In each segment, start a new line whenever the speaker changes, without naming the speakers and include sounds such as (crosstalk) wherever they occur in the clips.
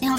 har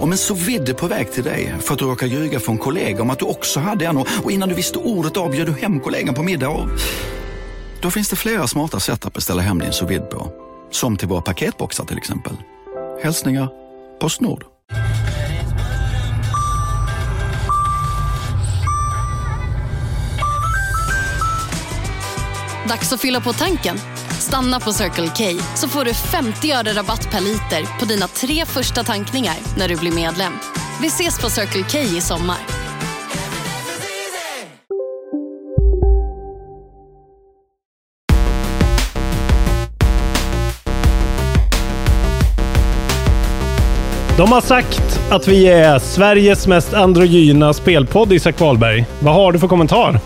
Om en så vidde på väg till dig för att du råkar ljuga från kollega om att du också hade en och och innan du visste ordet av bjöd du hem kollegan på middag och... Då finns det flera smarta sätt att beställa hem din sous vide på. Som till våra paketboxar till exempel. Hälsningar Postnord.
Dags att fylla på tanken. Stanna på Circle K så får du 50 öre rabatt per liter på dina tre första tankningar när du blir medlem. Vi ses på Circle K i sommar.
De har sagt att vi är Sveriges mest androgyna spelpodd, Isak Wahlberg. Vad har du för kommentar?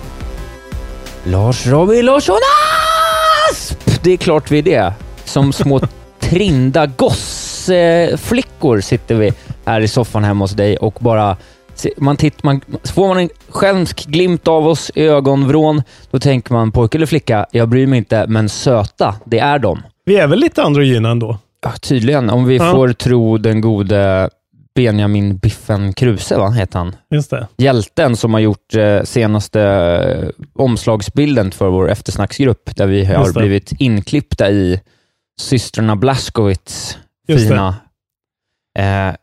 Lars Robin Larsson Asp! Det är klart vi är det. Som små trinda gossflickor sitter vi här i soffan hemma hos dig och bara... se- Man titt, man, får man en skälmsk glimt av oss i ögonvrån, då tänker man pojke eller flicka, jag bryr mig inte, men söta, det är de.
Vi är väl lite androgyna ändå?
Ja, tydligen, om vi
Ja.
får tro den gode Benjamin Biffen Kruse, va, heter han?
Just det.
hjälten som har gjort eh, senaste eh, omslagsbilden för vår eftersnacksgrupp, där vi har
Just det.
blivit inklippta i systrarna Blaskowitz
Just
fina eh,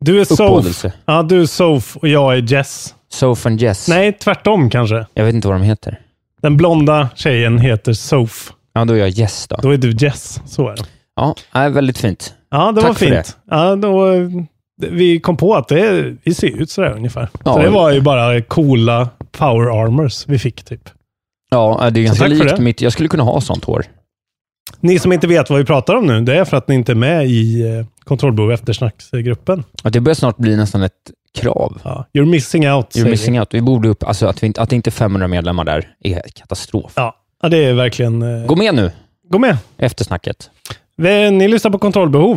Du är Sof.
uppådelse.
Ja, du är Sof och jag är Jess.
Soph and Jess.
Nej, tvärtom kanske.
Jag vet inte vad de heter.
Den blonda tjejen heter Sof.
Ja, då är jag Jess då.
Då är du Jess. Så är det.
Ja, nej, väldigt fint.
Ja, det
Tack
var
för
fint. Ja, då, eh, vi kom på att det, vi ser ut sådär ungefär.
Ja,
så det var ju bara coola power armors vi fick typ.
Ja, eh, det är ganska
tack för
likt
det.
mitt. Jag skulle kunna ha sånt hår.
Ni som inte vet vad vi pratar om nu, det är för att ni inte är med i eh, kontrollbehov eftersnacksgruppen.
Ja, det börjar snart bli nästan ett krav.
Ja. You're missing out, säger
You're
vi.
missing out. Vi borde upp, alltså att, vi inte, att det inte är 500 medlemmar där är katastrof.
Ja. ja, det är verkligen... eh,
Gå med nu,
Gå med.
eftersnacket.
Vi- Ni lyssnar på Kontrollbehov.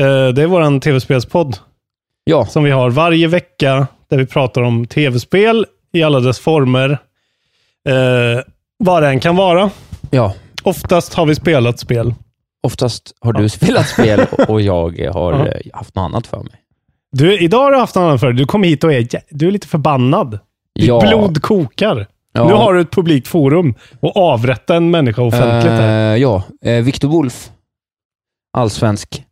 Eh, Det är vår tv-spelspodd
Ja,
som vi har varje vecka där vi pratar om tv-spel i alla dess former. Eh, Vad det än kan vara.
ja.
Oftast har vi spelat spel.
Oftast har du
(laughs)
spelat spel och jag har
Ja.
eh, haft något annat för mig.
Du, idag har du haft en annan för Du kom hit och är, jä- du är lite förbannad. Ditt
Ja.
blod kokar.
Ja.
Nu har du ett publikt forum och avrätta en människa offentligt. här.
Eh, ja, eh, Victor Wolf, allsvensk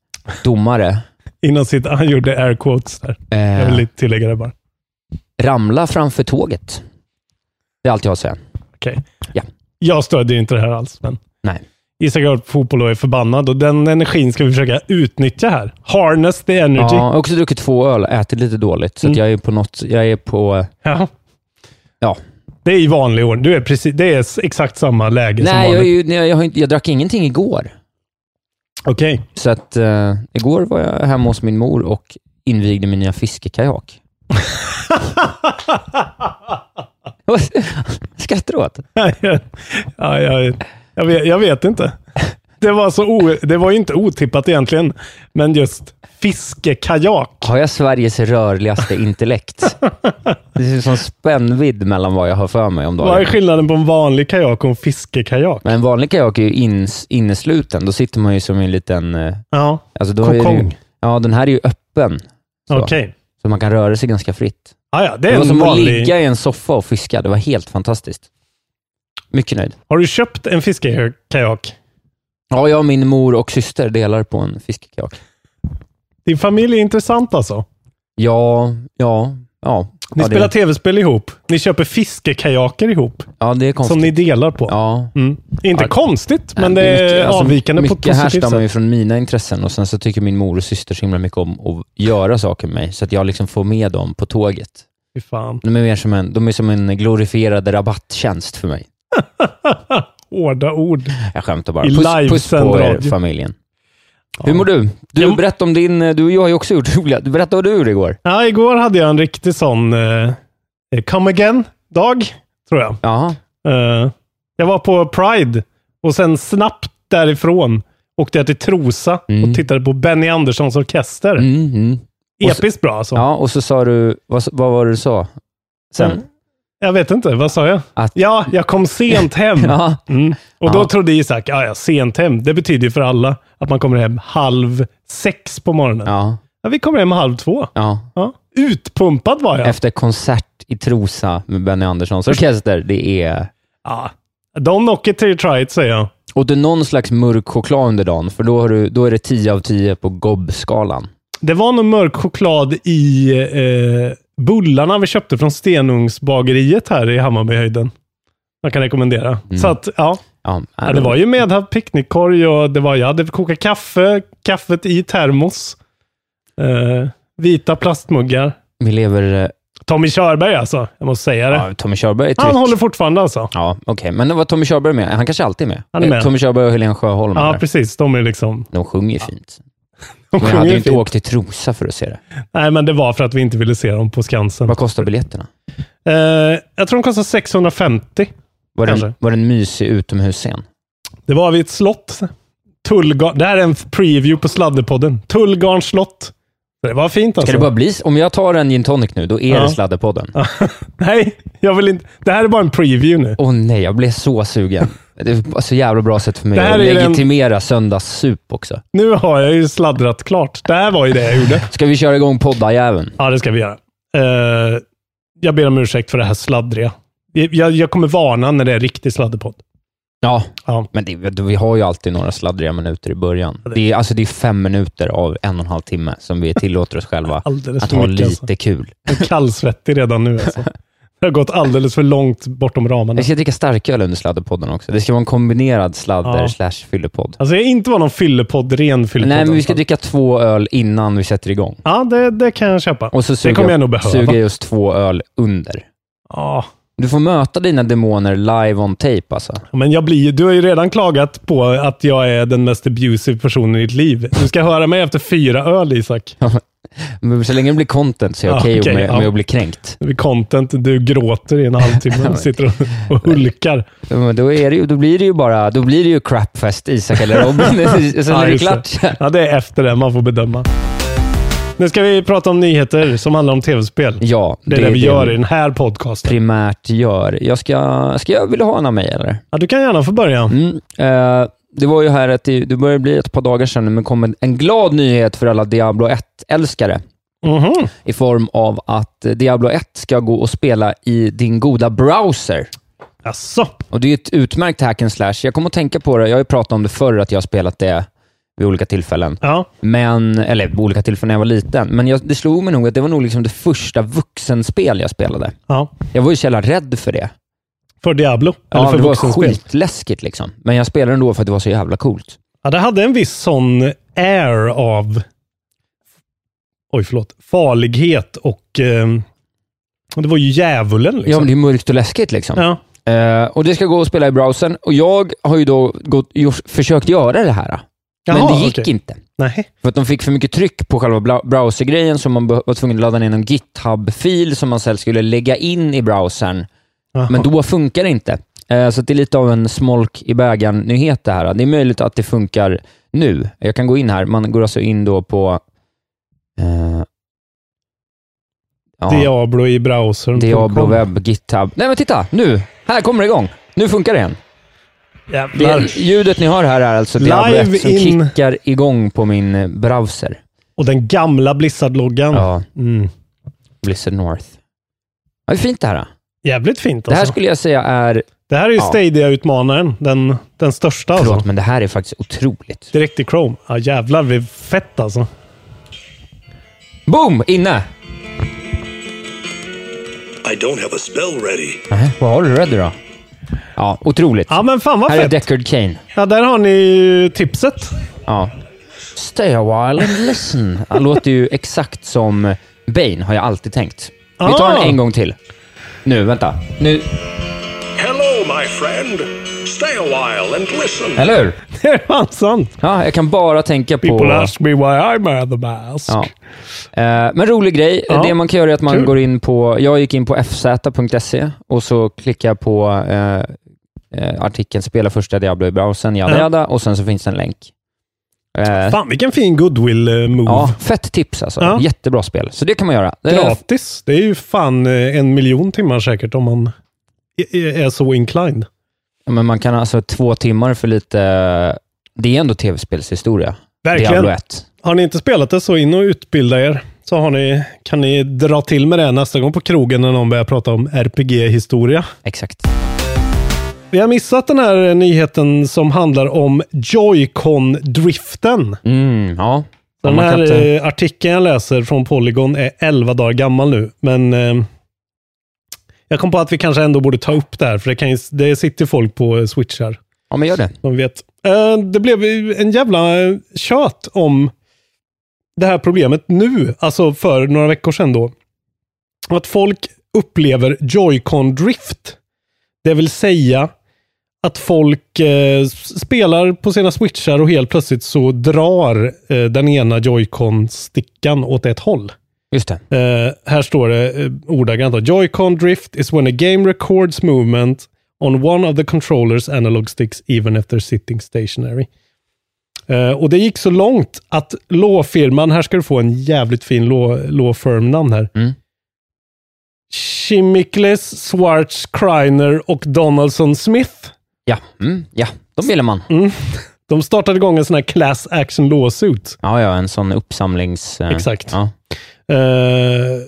domare,
Innan sitt, han gjorde air quotes där. Jag
eh,
vill lite tillägga det bara.
ramla framför tåget. Det är allt jag har att säga.
Okej.
Ja.
Jag stödjer inte det här alls, men
Nej.
Isak har varit på fotboll och är förbannad och den energin ska vi försöka utnyttja här. Harness the energy.
Ja, jag
Ja.
har också druckit två öl och ätit lite dåligt, så att
Mm.
jag är på något, jag är på... Ja.
Det är i vanlig ordning. Du är precis, det är s- exakt samma läge som
Nej,
vanligt.
jag, är ju, nej, jag, har inte, jag drack ingenting igår.
Okej.
Så att eh, igår var jag hemma hos min mor och invigde min
(laughs)
nya fiskekajak. Vad skrattar du åt?
ja, jag, jag, vet, jag vet inte. Det var, så o, det var ju inte otippat egentligen, men just fiskekajak.
Har jag Sveriges rörligaste intellekt? Det är en sån spännvidd mellan vad jag har för mig om
Vad är
dagen.
skillnaden på en vanlig kajak och en fiskekajak?
Men en vanlig kajak är ju ins, innesluten. Då sitter man ju som i en liten... eh,
Ja,
Alltså då är det ju,
Kokong.
ja, den här är ju öppen. Så,
okej.
så man kan röra sig ganska fritt.
Ah, ja, det
Det,
är
var
en
som att
vanlig...
ligga i en soffa och fiska. Det var helt fantastiskt. Mycket nöjd.
Har du köpt en fiskekajak?
Ja, jag, min mor och syster delar på en fiskekajak.
Din familj är intressant alltså.
Ja, ja, ja.
Ni
ja,
spelar
det,
tv-spel ihop. Ni köper fiskekajaker ihop,
ja, det är konstigt.
som ni delar på.
Ja,
Mm. Inte
Ja.
konstigt, men det
Nej,
är
mycket- alltså,
avvikande på ett
Mycket
positivt
härstammar
sätt.
ju från mina intressen och sen så tycker min mor och syster så himla mycket om att göra saker med mig, så att jag liksom får med dem på tåget.
Fy fan.
De är, mer som en, de är som en glorifierad rabatttjänst för mig.
Hårda ord.
Jag skämtar bara.
I
Puss, puss
livesänd
på er,
radio.
familjen. Hur mår du? Du,
Jag-
berätta om din... Du och jag har ju också gjort roliga... Berätta vad du gjorde igår.
Ja, igår hade jag en riktig sån eh, come again-dag, tror jag.
Jaha.
Eh, jag var på Pride och sen snabbt därifrån åkte jag till Trosa
Mm.
och tittade på Benny Anderssons orkester.
Mm, mm. och så-
Episkt bra alltså.
Ja, och så sa du... Vad, vad var det du sa? Sen?
Mm. Jag vet inte, vad sa jag?
Att-
Ja, jag kom sent hem.
(laughs) Ja.
Mm. Och då
Ja.
trodde Isak, ja, ja, sent hem, det betyder ju för alla att man kommer hem halv sex på morgonen. Ja.
Ja.
vi kommer hem halv två.
ja.
Ja. Utpumpad var jag.
Efter konsert i Trosa med Benny Anderssons orkester. Det är...
Ja. Don't knock it till you try it, säger jag.
Och du någon slags mörk choklad under dagen, för då, har du, då är det 10 av 10 på gobbskalan.
Det var nog mörk choklad i eh, bullarna vi köpte från Stenungsbageriet här i Hammarbyhöjden. Jag kan rekommendera. Så att, ja.
Mm. Ja,
ja, det var ju med picknickkorg och det var, jag hade kokat kaffe, kaffet i termos. Eh, vita plastmuggar.
Vi lever... eh,
Tommy Körberg alltså, jag måste säga det.
Ja, Tommy Körberg är
Han
tryck.
håller fortfarande alltså.
Ja, okej. Men var Tommy Körberg med? Han kanske alltid är med.
Han är med.
Eh, Tommy Körberg och Helene Sjöholm.
Ja,
där.
precis. De är liksom...
de sjunger ju fint.
De
Men jag hade
sjunger
ju inte
fint.
åkt till Trosa för att se det.
Nej, men det var för att vi inte ville se dem på Skansen.
Vad kostar biljetterna?
Eh, jag tror de kostar 650.
Var det, en,
Kanske.
var det en mysig utomhusscen?
Det var vid ett slott. Tullgarn. Det här är en preview på Sladderpodden. Tullgarns slott. Det var fint
Ska
alltså.
det bara bli... s- Om jag tar en gin tonic nu, då är
Ja.
det Sladderpodden. Åh
Nej, jag vill inte. Det här är bara en preview nu.
nej, jag blev så sugen. Det var så jävla bra sätt för mig
Det här
att
är den-
legitimera söndagssup också.
Nu har jag ju sladdrat klart. Det här var ju det jag
(laughs)
gjorde.
Ska vi köra igång poddarjäveln?
Ja, det ska vi göra. Eh, jag ber om ursäkt för det här sladdriga. Jag, jag- jag kommer varna när det är riktig sladderpodd.
Ja,
Ja.
men det, vi har ju alltid några sladdriga minuter i början.
det-
Det är, alltså, det är fem minuter av en och en halv timme som vi tillåter oss själva
(laughs) Alldeles
att
för
ha
mycket,
lite
alltså.
kul.
Jag är kallsvettig redan nu
(laughs)
alltså. Det har gått alldeles för långt bortom ramarna.
Jag ska dricka starköl under sladderpodden också. Det ska vara en kombinerad sladder
Ja.
slash fyllepodd.
Alltså jag är inte vara någon fyllepodd, ren fyllepodd.
Nej, men vi
alltså.
ska dricka två öl innan vi sätter igång.
Ja, det, det kan jag köpa.
Och så
det
suger,
kommer jag nog behöva.
suger jag just två öl under.
Ja,
Du får möta dina demoner live on tape alltså.
men jag blir, ju- du har ju redan klagat på att jag är den mest abusive personen i ditt liv. Du ska höra mig efter fyra öl, Isak.
Men så länge det blir content så är jag
Ja,
okej
okej,
med,
ja.
med att bli kränkt.
Det blir content, du gråter i en
(laughs)
halvtimme och sitter och, och hulkar.
Men då, är det ju, då blir det ju bara då blir det ju crapfest, Isak eller Robin.
(laughs)
Sen
Ja,
är det
just
klart.
Ja, det är efter det man får bedöma. Nu ska vi prata om nyheter som handlar om tv-spel.
Ja,
Det är det, vi gör i den här podcasten.
primärt gör. Jag ska, ska jag, vill du ha en av mig eller?
Ja, du kan gärna få börja.
Mm. Eh, det var ju här att det, det börjar bli ett par dagar sedan, men det kom en, en glad nyhet för alla Diablo 1-älskare
Mhm.
i form av att eh, Diablo 1 ska gå och spela i din goda browser.
Jaså?
Och Det är ju ett utmärkt hack and slash. Jag kommer att tänka på det, jag har ju pratat om det förr, att jag har spelat det vid olika tillfällen.
Ja.
Men, eller vid olika tillfällen när jag var liten. Men jag, det slog mig nog att det var nog liksom det första vuxenspel jag spelade.
ja.
Jag var ju så jävla rädd för det.
För Diablo.
Ja,
eller för
det var
vuxenspel.
skitläskigt liksom. Men jag spelade ändå för att det var så jävla coolt.
Ja, det hade en viss sån air av oj, förlåt, farlighet och ehm, och det var ju djävulen.
Ja,
Liksom.
men det är mörkt och läskigt liksom.
Ja.
Eh, och det ska gå och spela i browsern och jag har ju då gått, gjort, försökt göra det här. men
Jaha,
det gick
okej.
inte.
Nej.
För att de fick för mycket tryck på själva bla- browsergrejen så man be- var tvungen att ladda ner någon GitHub-fil som man sen skulle lägga in i browsern.
Jaha.
Men då funkar det inte. Eh, så att det är lite av en smolk i bägaren-nyhet det här. Det är möjligt att det funkar nu. Jag kan gå in här. Man går alltså in då på... eh, ja.
Diablo i browsern.
Diablo webb, GitHub. Nej men titta, nu! Här kommer det igång. Nu funkar det igen.
Jävlar.
Det, ljudet ni hör här är alltså Diablo
Live
1 som
in.
kickar igång på min eh, browser.
Och den gamla Blizzard-loggan.
Ja,
Mm.
Blizzard North. Ja, det är fint det här. då.
Jävligt fint
Det här
alltså.
skulle jag säga är...
Det här är ju
Ja.
Stadia-utmanaren. Den, den största
Förlåt,
alltså.
men det här är faktiskt otroligt.
Direkt i Chrome. Ja, jävlar, vi är fett alltså.
Boom! Inne!
I don't have a spell ready.
Nähä, vad har du ready då? Ja, otroligt.
Ja, men fan vad
här är
fett.
Deckard Kane.
Ja, där har ni ju tipset. (laughs)
Ja. Stay a while and listen. Han låter ju exakt som Bane, har jag alltid tänkt. Vi tar
Ah.
den en gång till. Nu, vänta. Nu,
Hello, my friend. Stay a while and listen.
Eller hur?
Det är fan sant.
Ja, jag kan bara tänka på...
People ask me why I wear the mask.
Ja. Eh, Men rolig grej.
Ja.
Det man kan göra är att man
Kul.
går in på... Jag gick in på fz.se och så klickar jag på eh, eh, artikeln “Spela första Diablo i browsern”, jada,
Ja.
jada, och sen så finns det en länk. Eh,
Fan vilken fin eh, goodwill-move.
ja, fett tips alltså.
Ja.
Jättebra spel. Så det kan man göra. Eh, Det är-
Gratis. Det är ju fan eh, en miljon timmar säkert om man i- i- är så inclined.
Ja, Men man kan alltså två timmar för lite... Det är ändå tv-spelshistoria.
Verkligen.
Diablo 1.
Har ni inte spelat det så in och utbilda er. Så har ni, kan ni dra till med det nästa gång på krogen när någon börjar prata om RPG-historia.
Exakt.
Vi har missat den här eh, nyheten som handlar om Joy-Con-driften.
Mm, ja. Ja,
Den
man
här
kan inte...
eh, artikeln jag läser från Polygon är 11 dagar gammal nu, men eh, jag kom på att vi kanske ändå borde ta upp det här, för det, kan ju, det sitter folk på eh, switchar.
Ja, men gör det.
Man vet. Eh, Det blev ju en jävla eh, tjat om det här problemet nu, alltså för några veckor sedan då. Att folk upplever Joy-Con drift. Det vill säga att folk eh, s- spelar på sina switchar och helt plötsligt så drar eh, den ena Joy-Con-stickan åt ett håll.
Just det.
Eh, här står det eh, ordagrant då. Joy-Con drift is when a game records movement on one of the controllers analog sticks even if they're sitting stationary. Eh, och det gick så långt att låfirman, här ska du få en jävligt fin law, law firm namn här.
Mm.
Chimicles, Schwartz, Kreiner och Donaldson Smith.
Ja, mm, ja. de gillar man.
De startade igång en sån här class action lawsuit.
Ja, ja, en sån uppsamlings... eh,
Exakt.
Ja.
eh,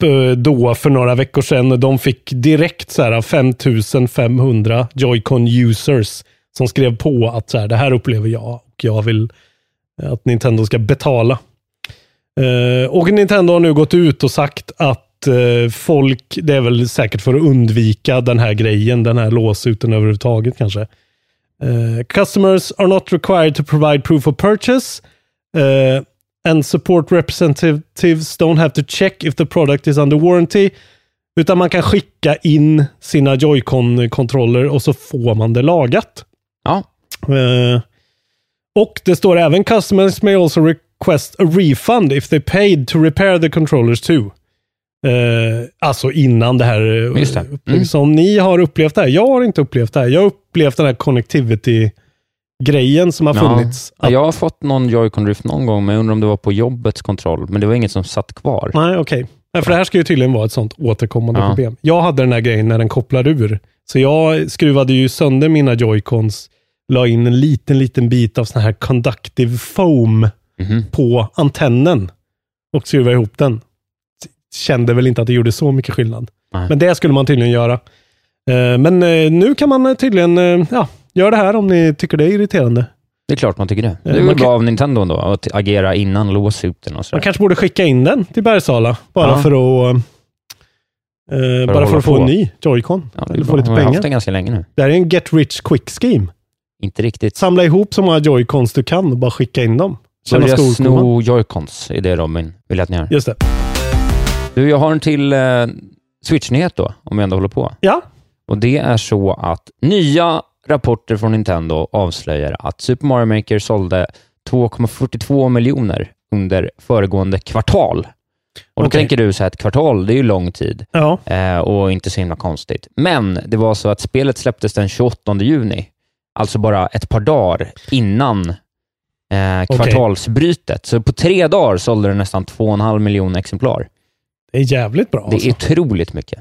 p- då för några veckor sedan. De fick direkt så här 5500 Joy-Con users som skrev på att så här, det här upplever jag och jag vill att Nintendo ska betala. Eh, och Nintendo har nu gått ut och sagt att eh, folk, det är väl säkert för att undvika den här grejen, den här låsuten överhuvudtaget kanske. Eh, customers are not required to provide proof of purchase. Eh, and support representatives don't have to check if the product is under warranty. Utan man kan skicka in sina Joy-Con-kontroller och så får man det lagat.
ja.
Eh, och det står även customers may also request a refund if they paid to repair the controllers too. Eh, alltså innan det här. eh,
Just det. Mm.
Så om ni har upplevt det här. Jag har inte upplevt det här. Jag har upplevt den här connectivity-grejen som har
Ja.
funnits.
Ja, jag har fått någon Joy-Con Drift någon gång, men jag undrar om det var på jobbets kontroll. Men det var inget som satt kvar.
Nej, okej. Nej, För det här ska ju tydligen vara ett sånt återkommande
Ja.
problem. Jag hade den här grejen när den kopplade ur. Så jag skruvade ju sönder mina joycons, la in en liten, liten bit av sån här conductive foam
Mhm.
på antennen och skruva ihop den. Kände väl inte att det gjorde så mycket skillnad.
Nej.
Men det skulle man tydligen göra. Eh, Men eh, nu kan man eh, tydligen, eh, ja, gör det här om ni tycker det är irriterande.
Det är klart man tycker det. Det är
man
väl
kan-
bra av Nintendo ändå, att agera innan låsuten och
Man
sådär.
kanske borde skicka in den till Bergsala, bara
Ja.
för att eh, bara för
hålla
att få
på.
en ny Joy-Con.
Ja, det är
Eller få
bra.
lite
Man har haft
pengar.
den ganska länge nu.
Det här är en get rich quick scheme.
Inte riktigt.
Samla ihop så många Joy-Cons du kan och bara skicka in dem. Tjäna
Börja
storkovan.
sno Joy-Cons, är det Robin vill jag att ni gör.
Just det.
Du, jag har en till eh, Switch-nyhet då, om vi ändå håller på.
Ja,
Och det är så att nya rapporter från Nintendo avslöjar att Super Mario Maker sålde 2,42 miljoner under föregående kvartal. Och då
Okej.
tänker du så här, ett kvartal, det är ju lång tid
ja.
eh, och inte så himla konstigt. Men det var så att spelet släpptes den 28 juni, alltså bara ett par dagar innan eh, kvartalsbrytet. Så på tre dagar sålde det nästan 2,5 miljoner exemplar.
Det är jävligt bra.
Det
alltså.
är otroligt mycket.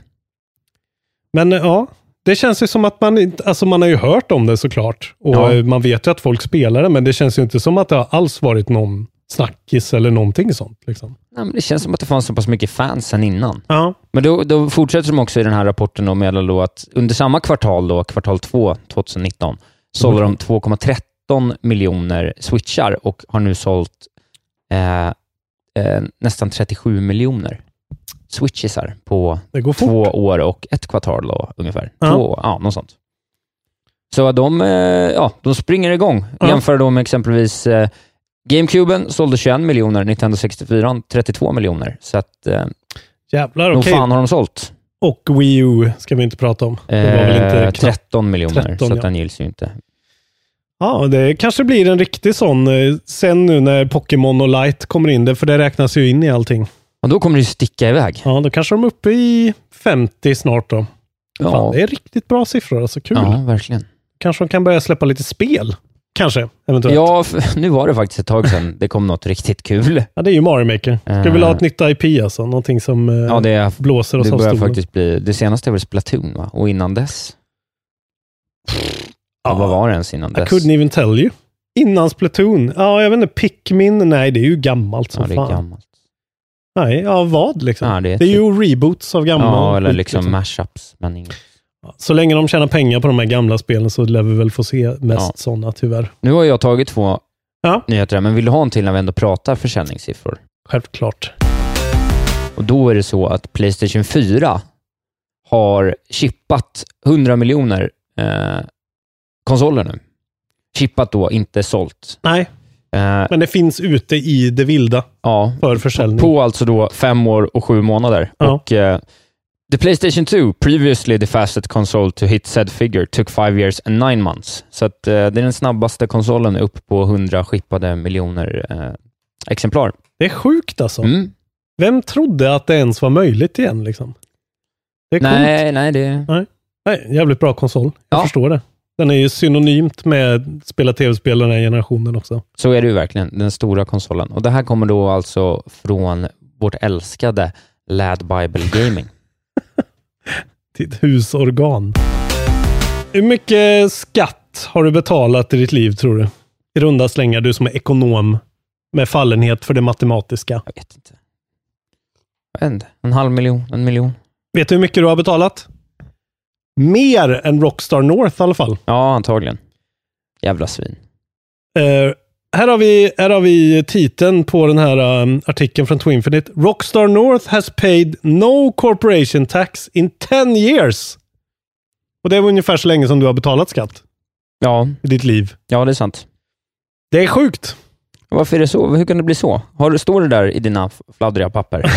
Men eh, ja, det känns ju som att man inte, alltså man har ju hört om det såklart. Och
Ja.
eh, man vet ju att folk spelar det, men det känns ju inte som att det har alls varit någon snackis eller någonting sånt. Liksom.
Nej, men det känns som att det fanns så pass mycket fans sen innan.
Ja.
Men då, då fortsätter de också i den här rapporten och meddelar då att under samma kvartal, då, kvartal 2 2019, sålde de 2,13 miljoner switchar och har nu sålt eh, eh, nästan 37 miljoner switchisar på
Det går fort.
två år och ett kvartal då, ungefär.
Ja.
Två, ja, något sånt. Så de, eh, ja, de springer igång.
Ja.
Jämför då med exempelvis eh, GameCuben sålde 21 miljoner, Nintendo 64 32 miljoner. Så att, eh,
Jävlar,
nog
okej.
fan har de sålt.
Och Wii U ska vi inte prata om. Det var väl
Eh,
inte knappt.
13 miljoner,
13,
så att
ja.
den gills ju inte.
Ja, det kanske blir en riktig sån eh, sen nu när Pokémon och Light kommer in. Det, för det räknas ju in i allting.
Och då kommer det ju sticka iväg.
Ja, då kanske de är uppe i 50 snart då. Fan,
Ja,
det är riktigt bra siffror. Alltså kul.
ja verkligen.
Kanske de kan börja släppa lite spel. Kanske, eventuellt. Ja.
Ja, f- nu var det faktiskt ett tag sedan det kom något
(laughs)
riktigt kul.
det är ju Mario Maker. Ska
Eh.
vi ha ett nytt IP alltså? Någonting som eh,
Ja, det,
blåser oss
det
av
börjar
stolen.
faktiskt bli... Det senaste är väl Splatoon, va? Och innan dess? Ja. Vad var det ens innan
I
dess?
couldn't even tell you. Innan Splatoon. Ja, jag vet inte. Pikmin? Nej, det är ju gammalt som
Ja, det är
fan.
gammalt.
Nej, ja vad liksom?
Ja, det är
det är
typ-
ju reboots av gamla.
Ja, eller
skit,
liksom mashups. Men inget.
Så länge de tjänar pengar på de här gamla spelen så lär vi väl få se mest
Ja.
sådana tyvärr.
Nu har jag tagit två
Ja.
nyheter här, men vill du ha en till när vi ändå pratar försäljningssiffror?
Självklart.
Och då är det så att Playstation 4 har chippat 100 miljoner eh, konsoler nu. Chippat då, inte sålt.
Nej,
Eh,
men det finns ute i det vilda
ja,
för försäljning.
på alltså då fem år och sju månader.
Ja.
Och, eh, the Playstation 2, previously the fastest console to hit said figure, took five years and nine months. Så att, eh, det är den snabbaste konsolen upp på 100 skippade miljoner eh, exemplar.
Det är sjukt alltså.
Mm.
Vem trodde att det ens var möjligt igen liksom? Det är coolt.
Nej, nej, det...
Nej, jävligt bra konsol. Jag
Ja.
förstår det. Den är ju synonymt med spela tv-spel den här generationen också.
så är det ju verkligen. Den stora konsolen. Och Det här kommer då alltså från vårt älskade Lad Bible Gaming.
Ditt husorgan. Hur mycket skatt har du betalat i ditt liv, tror du? I runda slängar, du som är ekonom med fallenhet för det matematiska.
Jag vet inte. Jag vet inte. En halv miljon, en miljon.
Vet du hur mycket du har betalat? Mer än Rockstar North i alla fall.
Ja, antagligen. Jävla svin.
Eh, här, har vi, här har vi titeln på den här um, artikeln från Twinfinite. Rockstar North has paid no corporation tax in 10 years. Och det är ungefär så länge som du har betalat skatt
Ja,
i ditt liv.
ja det är sant.
Det är sjukt.
Varför är det så? Hur kan det bli så? Har, du- står det där i dina f- fladdriga papper?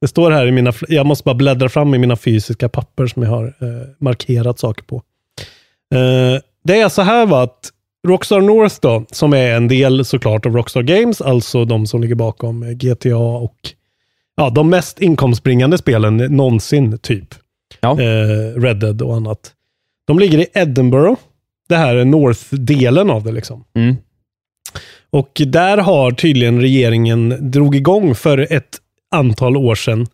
Det står här i mina, fl- jag måste bara bläddra fram i mina fysiska papper som jag har eh, markerat saker på. Eh, det är så här va, att Rockstar North då, som är en del såklart av Rockstar Games, alltså de som ligger bakom eh, GTA och ja, de mest inkomstbringande spelen någonsin, typ.
Ja.
Eh, Red Dead och annat. De ligger i Edinburgh. Det här är North-delen av det liksom.
(laughs) Mm.
Och där har tydligen regeringen drog igång för ett antal år sedan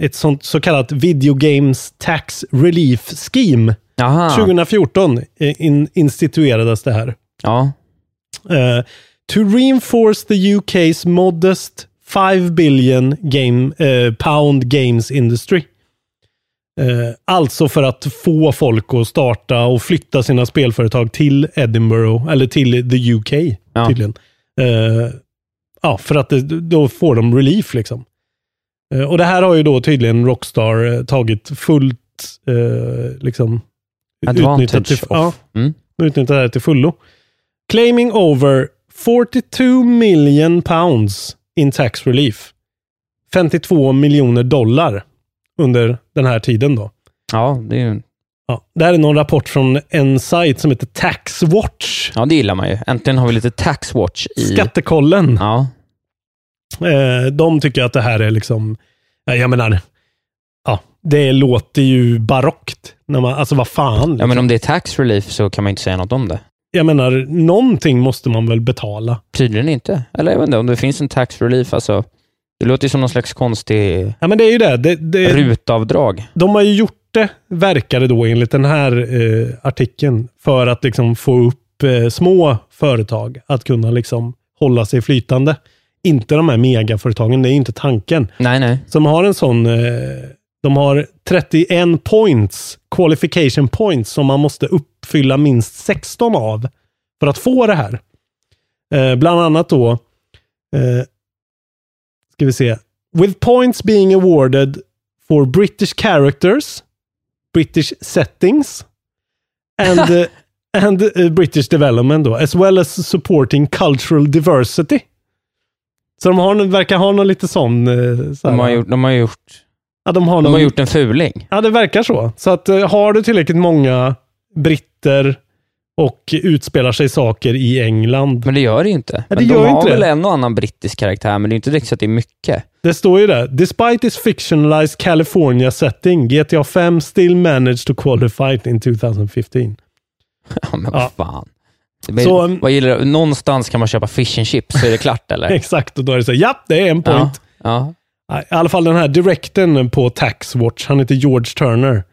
ett sånt så kallat Video Games Tax Relief Scheme.
Aha.
2014 eh, in, instituerades det här.
Ja.
Eh, to reinforce the UK's modest 5 billion game, eh, pound games industry. Eh, alltså för att få folk att starta och flytta sina spelföretag till Edinburgh, eller till the UK
Ja.
tydligen. Eh, ja, för att det, då får de relief liksom. Eh, och det här har ju då tydligen Rockstar eh, tagit fullt, eh, liksom, utnyttjat till,
Advantage
ja,
off. Mm.
utnyttjat det här till fullo. Claiming over 42 million pounds in tax relief. 52 miljoner dollar under den här tiden då.
Ja, det, är ju,
Ja, det här är någon rapport från en sajt som heter Taxwatch.
ja, det gillar man ju. Äntligen har vi lite tax watch i...
Skattekollen.
Ja.
Eh, de tycker att det här är liksom, ja, jag menar, ja, det låter ju barockt. När man, alltså vad fan.
ja,
Liksom.
men om det är tax relief så kan man ju inte säga något om det.
Jag menar, någonting måste man väl betala.
Tydligen inte. Eller jag vet inte, om det finns en tax relief, alltså. Det låter ju som någon slags konstig
Ja, men det är ju det. det, det
rutavdrag.
de har ju gjort det, verkar det då enligt den här eh, artikeln, för att liksom få upp eh, små företag att kunna liksom hålla sig flytande. Inte de här megaföretagen, det är inte tanken.
Nej, nej.
som har en sån... Eh, de har 31 points, qualification points, som man måste uppfylla minst 16 av för att få det här. Eh, bland annat då... Eh, ska vi se. With points being awarded for British characters, British settings and, eh, and eh, British development då, as well as supporting cultural diversity. Så de har, verkar ha någon lite sån... eh, så här-
De har, gjort, de har gjort
Ja, de har,
De
någon...
har gjort en fuling.
Ja, det verkar så. Så att eh, har du tillräckligt många britter och utspelar sig saker i England.
Men det gör det ju inte.
det
men de
gör ju
har
inte det.
väl en och annan brittisk karaktär, men det är inte direkt så att det är mycket. (laughs)
Det står ju där. Despite its fictionalized California setting, GTA 5 still managed to qualify it in 2015.
Ja, men
Ja.
vad fan. Det blir,
Så, um,
vad gillar du? Någonstans kan man köpa fish and chips, så är det klart eller?
(laughs) (laughs) Exakt, och då är det så här, ja, det är en
ja,
point.
ja.
I alla fall den här direkten på Tax Watch, han heter George Turner.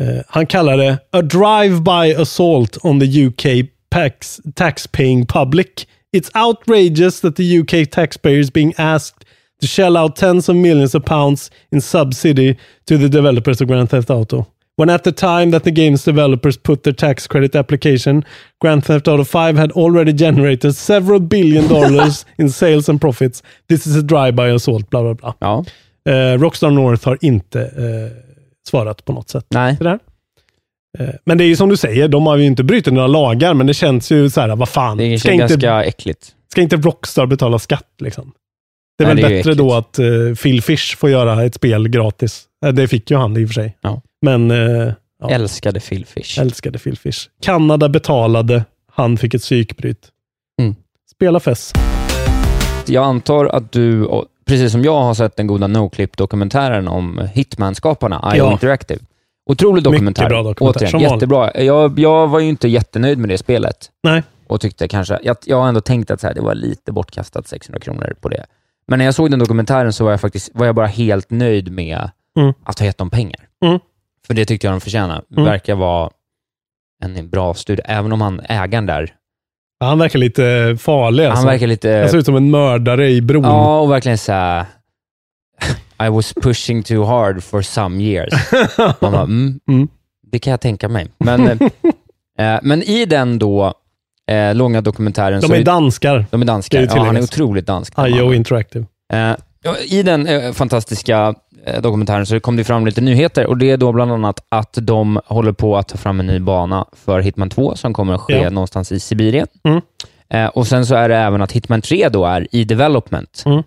Eh, han kallar det A drive-by assault on the UK tax, tax-paying public. It's outrageous that the UK taxpayers being asked to shell out tens of millions of pounds in subsidy to the developers of Grand Theft Auto. When at the time that the game's developers put their tax credit application, Grand Theft Auto 5 had already generated several billion dollars in sales and profits. This is a drive-by assault, bla bla bla.
ja.
Eh, Rockstar North har inte eh, svarat på något sätt.
Nej.
till det här. Eh, men det är ju som du säger, de har ju inte brutit några lagar, men det känns ju så här, vad fan.
Det är
Ska inte,
ganska äckligt.
ska inte Rockstar betala skatt liksom? Det är
Nej,
väl
det är ju
bättre då att eh, Phil Fish får göra ett spel gratis. Eh, det fick ju han i och för sig.
Ja.
Men eh, ja,
Älskade Phil Fish.
älskade Phil Fish. Kanada betalade, han fick ett psykbryt.
Mm.
Spela fest.
Jag antar att du, och- precis som jag, har sett den goda NoClip-dokumentären om Hitman-skaparna, IO
Ja.
Interactive. Otrolig
Mycket
dokumentär.
bra dokumentär, som
Återigen, jättebra. Jag, jag var ju inte jättenöjd med det spelet
Nej,
och tyckte kanske, jag, jag har ändå tänkt att så här, det var lite bortkastat 600 kronor på det. Men när jag såg den dokumentären så var jag faktiskt var jag bara helt nöjd med
Mm.
att ha gett dem pengar.
Mm.
För det tyckte jag de förtjänade.
Mm.
Verkar vara en bra studie, även om han, ägaren där,
han verkar lite farlig. Alltså.
han verkar lite...
Han ser ut som en mördare i bron. (laughs)
Ja, och verkligen så här, (laughs) I was pushing too hard for some years. Man bara, mm,
(laughs) Mm.
Det kan jag tänka mig.
(laughs)
Men, eh, men i den då eh, långa dokumentären
De
så
är danskar.
de är
Det är
danskar.
ju
Ja, han är
tilläggas.
otroligt dansk. den
IO
mannen.
Interactive.
Eh, ja, I den eh, fantastiska eh, dokumentären så kom det fram lite nyheter och det är då bland annat att de håller på att ta fram en ny bana för Hitman 2 som kommer att ske
Ja.
någonstans i Sibirien.
Mm.
Eh, och Sen så är det även att Hitman 3 då är i development
Mm.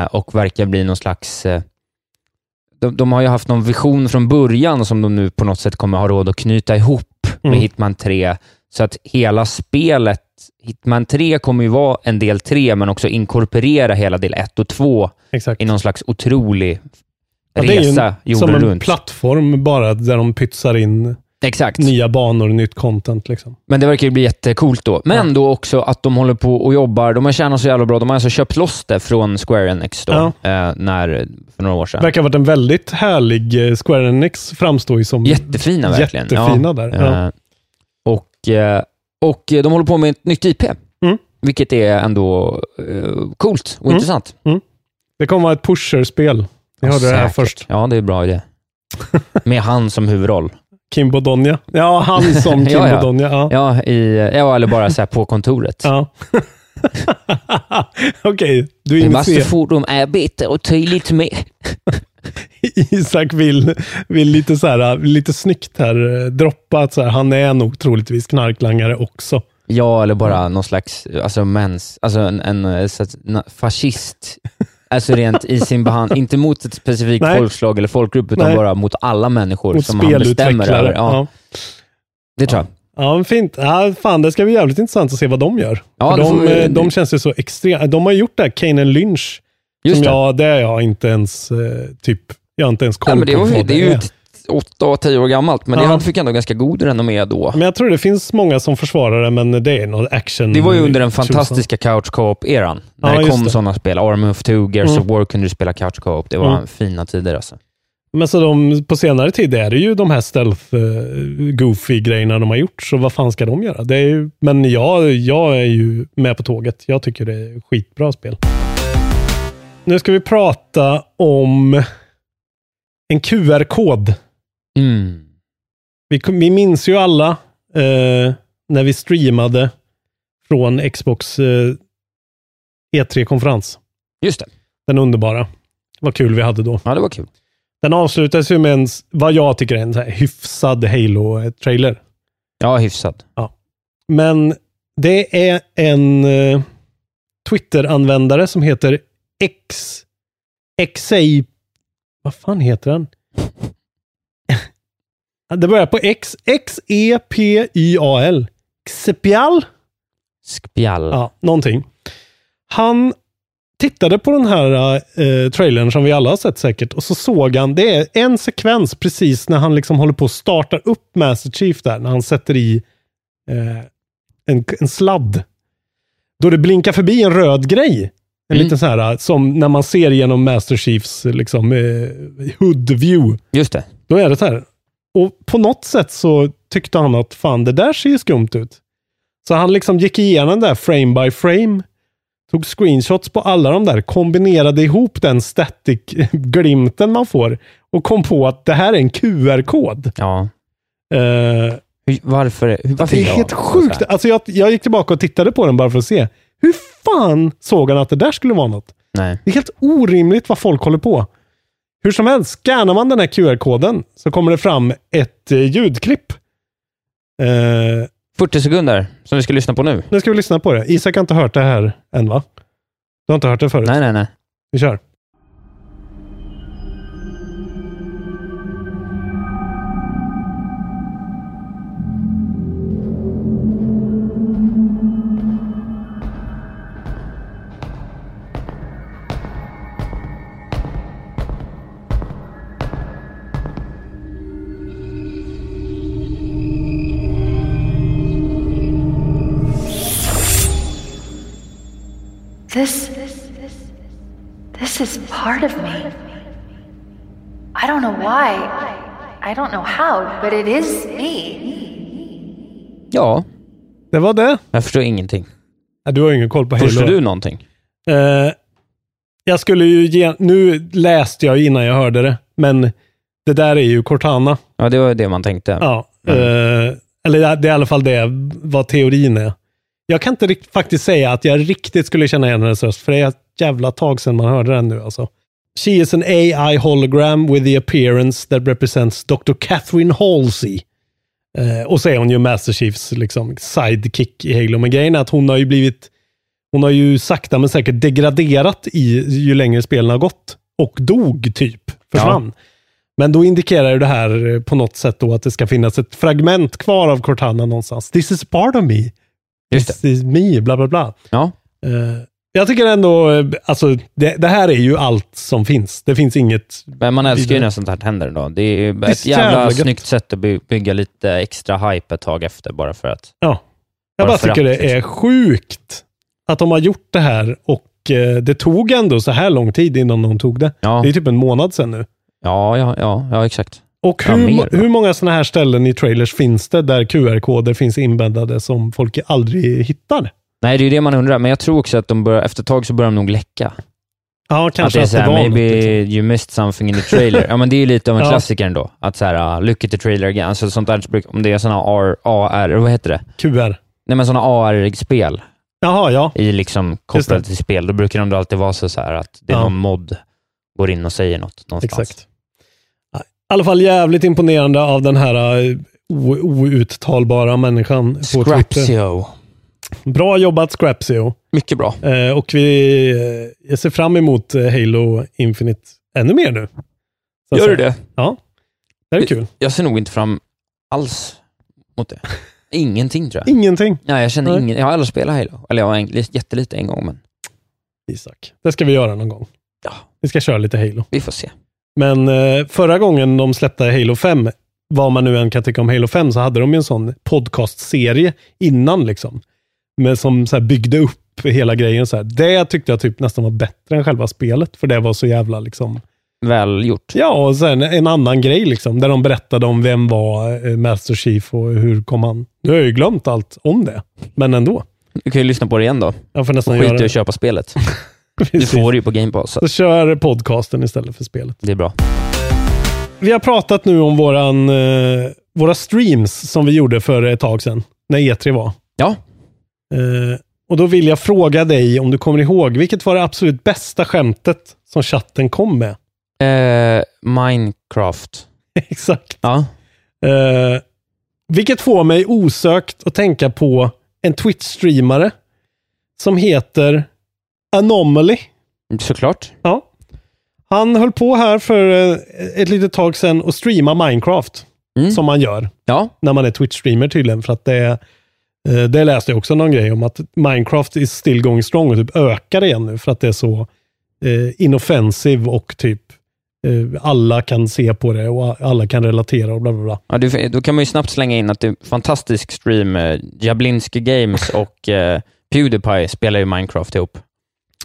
eh, och verkar bli någon slags... Eh, de, de har ju haft någon vision från början som de nu på något sätt kommer ha råd att knyta ihop
Mm.
med Hitman 3 så att hela spelet, Hitman 3 kommer ju vara en del 3, men också inkorporera hela del 1 och 2
Exakt.
i någon slags otrolig
Ja, det är ju en-
resa
Som
jorden
en
runt.
plattform bara där de pytsar in
Exakt.
nya banor, nytt content. Liksom.
Men det verkar ju bli jättecoolt då. Men då också att de håller på och jobbar. De har tjänat så jävla bra. De har alltså köpt loss det från Square Enix då, eh, när, för några år sedan.
Verkar ha varit en väldigt härlig eh, Square Enix framstår ju som.
Jättefina verkligen.
Jättefina där, ja.
Eh, Och, eh, och de håller på med ett nytt IP,
Mm.
vilket är ändå eh, coolt och
Mm.
intressant.
Det kommer vara ett pusherspel. Ni hörde det här
Säkert.
först.
Ja, det är bra idé. (laughs) Med han som huvudroll.
Kim Bodonja. Ja,
(laughs)
han som Kim
Ja, ja.
Bodonja. Ja. Ja.
Ja, i, ja eller bara så här på kontoret.
(laughs) Okej, du
I vassar
initierar.
fordon är bitter och tydligt med.
(laughs) Isak vill, vill lite, så här, lite snyggt här eh, droppa att så här, han är nog troligtvis knarklangare också.
Ja, eller bara någon slags alltså, mens, alltså en, en eh, så att, na, fascist. Alltså rent i sin behandling, inte mot ett specifikt
Nej.
folkslag eller folkgrupp, utan
Nej.
bara mot alla människor
Mot
som han bestämmer
spelutvecklare.
över. Ja, Det tror jag.
Ja, men fint. Ja, fan, det ska bli jävligt intressant att se vad de gör.
Ja,
För
det
de,
får vi-
eh, de känns ju så extrema. De har gjort det här, Kane and Lynch.
Just
som
det.
jag, det är jag inte ens, eh, typ, jag har inte ens koll
Nej, men det,
på
var,
vad
det är ju ett- åtta, tio år gammalt, men det,
Ja.
han fick ändå ganska god renommé då.
Men jag tror det finns många som försvarar det, men det är något action.
Det var ju under den
tjosan.
fantastiska couch co-op-eran. När
Mm. Ja,
det
just
kom
det.
sådana spel. Army of Two, Gears
Mm.
of War kunde du spela couch co-op. Det var
Mm.
fina tider alltså.
Men så de, på senare tid är det ju de här stealth eh, goofy grejerna de har gjort, så vad fan ska de göra? Det är ju, men jag, jag är ju med på tåget. Jag tycker det är skitbra spel. Nu ska vi prata om en QR-kod.
Mm.
Vi, kom- vi minns ju alla eh, när vi streamade från Xbox eh, E3-konferens.
Just det.
Den underbara. Vad kul vi hade då.
Ja, det var kul.
Den avslutas ju med en, vad jag tycker är en så här hyfsad Halo-trailer.
Ja, hyfsat.
Men det är en eh, Twitter-användare som heter X... XA... Vad fan heter den? (laughs) det börjar på X. E X-E-P-Y-A-L. Xepial?
Skpjall.
Ja, någonting. Han tittade på den här eh, trailern som vi alla har sett säkert och så såg han, det är en sekvens precis när han liksom håller på att starta upp Master Chief där, när han sätter i eh, en, en sladd. Då det blinkar förbi en röd grej. En
Mm.
liten så här, eh, som när man ser genom Master Chiefs liksom, eh, hood view.
Just det.
Då är det så här. Och på något sätt så tyckte han att fan, det där ser ju skumt ut. Så han liksom gick igenom det där frame by frame. Tog screenshots på alla de där, kombinerade ihop den static (laughs) glimten man får och kom på att det här är en QR-kod.
Ja.
Eh,
Hur, varför? Hur, varför
det är
jag?
helt
Så
sjukt.
här.
Alltså jag, jag gick tillbaka och tittade på den bara för att se. Hur fan såg han att det där skulle vara något?
Nej.
Det är helt orimligt vad folk håller på. Hur som helst, scannar man den här QR-koden så kommer det fram ett eh, ljudklipp. Eh,
40 sekunder som vi ska lyssna på nu.
nu ska vi lyssna på det. Isak har inte hört det här än va? Du har inte hört det förut?
Nej, nej, nej.
Vi kör.
This, this, this, this is part of me. I don't know why. I don't know how, but it is me.
Ja,
Det var det.
jag förstår ingenting.
Nej, du har ju ingen koll på
Förstår
Halo.
du någonting?
Eh, jag skulle ju ge... Nu läste jag innan jag hörde det, men det där är ju Cortana.
Ja, det var det man tänkte.
Ja. eh, eller det är i alla fall det vad teorin är. Jag kan inte rikt- faktiskt säga att jag riktigt skulle känna igen hennes röst, för det är ett jävla tag sedan man hörde den nu alltså. She is an AI hologram with the appearance that represents Dr. Catherine Halsey. Eh, och så är hon ju Master Chiefs liksom, sidekick i Halo. Men grejen är att hon har ju blivit, hon har ju sakta men säkert degraderat i ju längre spelen har gått. Och dog typ, försvann. Men då indikerar ju det här eh, på något sätt då att det ska finnas ett fragment kvar av Cortana någonstans. This is part of me.
Just det.
This is me, bla bla bla.
Ja.
Eh, jag tycker ändå, eh, alltså det, det här är ju allt som finns. Det finns inget,
Men man älskar ju
Vidare.
när sånt här händer då. Det är ju
Visst
ett jävla
jävla gött.
snyggt sätt att by- bygga lite extra hype ett tag efter bara för att.
ja. Jag bara
Varför
tycker
att, liksom.
det är sjukt att de har gjort det här och eh, det tog ändå så här lång tid innan de tog det.
Ja,
Det är typ en månad sedan nu.
ja, ja, ja, ja exakt.
Och
Ja,
hur,
mer, va?
hur många sådana här ställen i trailers finns det där QR-koder finns inbäddade som folk aldrig hittar?
Nej, det är ju det man undrar, men jag tror också att de bör, efter ett tag så börjar de nog läcka.
Ja, kanske
att det är såhär,
var något,
maybe
liksom.
you missed something in the trailer. ja, men det är ju lite av en
(laughs) Ja.
klassiker ändå. Att såhär, uh, look at the trailer again. Alltså sånt där, bruk- om det är såna AR, AR, vad heter det?
QR.
Nej men såna AR-spel
Jaha, ja.
i liksom kopplade till spel, då brukar de då alltid vara så så här att det är
Ja.
någon mod går in och säger något någonstans.
Exakt. I alla fall jävligt imponerande av den här eh, o- outtalbara människan på Twitter.
Scrapsio.
Bra jobbat Scrapsio.
Mycket bra.
Eh, och vi eh, jag ser fram emot eh, Halo Infinite ännu mer nu. Så att
Gör du
säga.
det?
Ja. Det här är kul.
Jag ser nog inte fram alls mot det. Ingenting tror jag.
Ingenting,
Nej, jag känner
Nej.
ingen. Jag har aldrig spelat Halo. Eller jag har en, jättelite en gång, men
Isak. Det ska vi göra någon gång.
Ja.
Vi ska köra lite Halo.
vi får se.
Men eh, förra gången de släppte Halo 5, vad man nu än kan tycka om Halo 5, så hade de ju en sån podcastserie innan liksom. Men som så här byggde upp hela grejen. Så här. Det tyckte jag typ nästan var bättre än själva spelet, för det var så jävla liksom...
Väl gjort.
Ja, och sen en annan grej liksom, där de berättade om vem var eh, Master Chief och hur kom han... Nu har jag ju glömt allt om det, men ändå.
Du kan ju lyssna på det igen då.
Jag får nästan göra
Skit i att
det. (laughs)
köpa spelet. Du
Precis.
får det ju på Game Pass, så
Så kör podcasten istället för spelet.
det är bra.
Vi har pratat nu om våran, eh, våra streams som vi gjorde för ett tag sedan, när E3 var.
Ja,
Eh, och då vill jag fråga dig om du kommer ihåg, vilket var det absolut bästa skämtet som chatten kom med? (laughs)
eh, Minecraft.
Exakt.
Ja.
Eh, vilket får mig osökt att tänka på en Twitch-streamare som heter Anomaly.
Såklart.
Ja. Han höll på här för eh, ett litet tag sedan och streama Minecraft.
Mm.
Som man gör
Ja,
när man är Twitch-streamer tydligen. För att det, är- eh, det läste jag också någon grej om, att Minecraft is still going strong och typ ökar igen nu för att det är så eh, inoffensive och typ eh, alla kan se på det och a- alla kan relatera och bla bla bla.
ja du, då kan man ju snabbt slänga in att det är en fantastisk stream. eh,
(laughs)
Jablinski Games och eh, Pewdiepie spelar ju Minecraft ihop.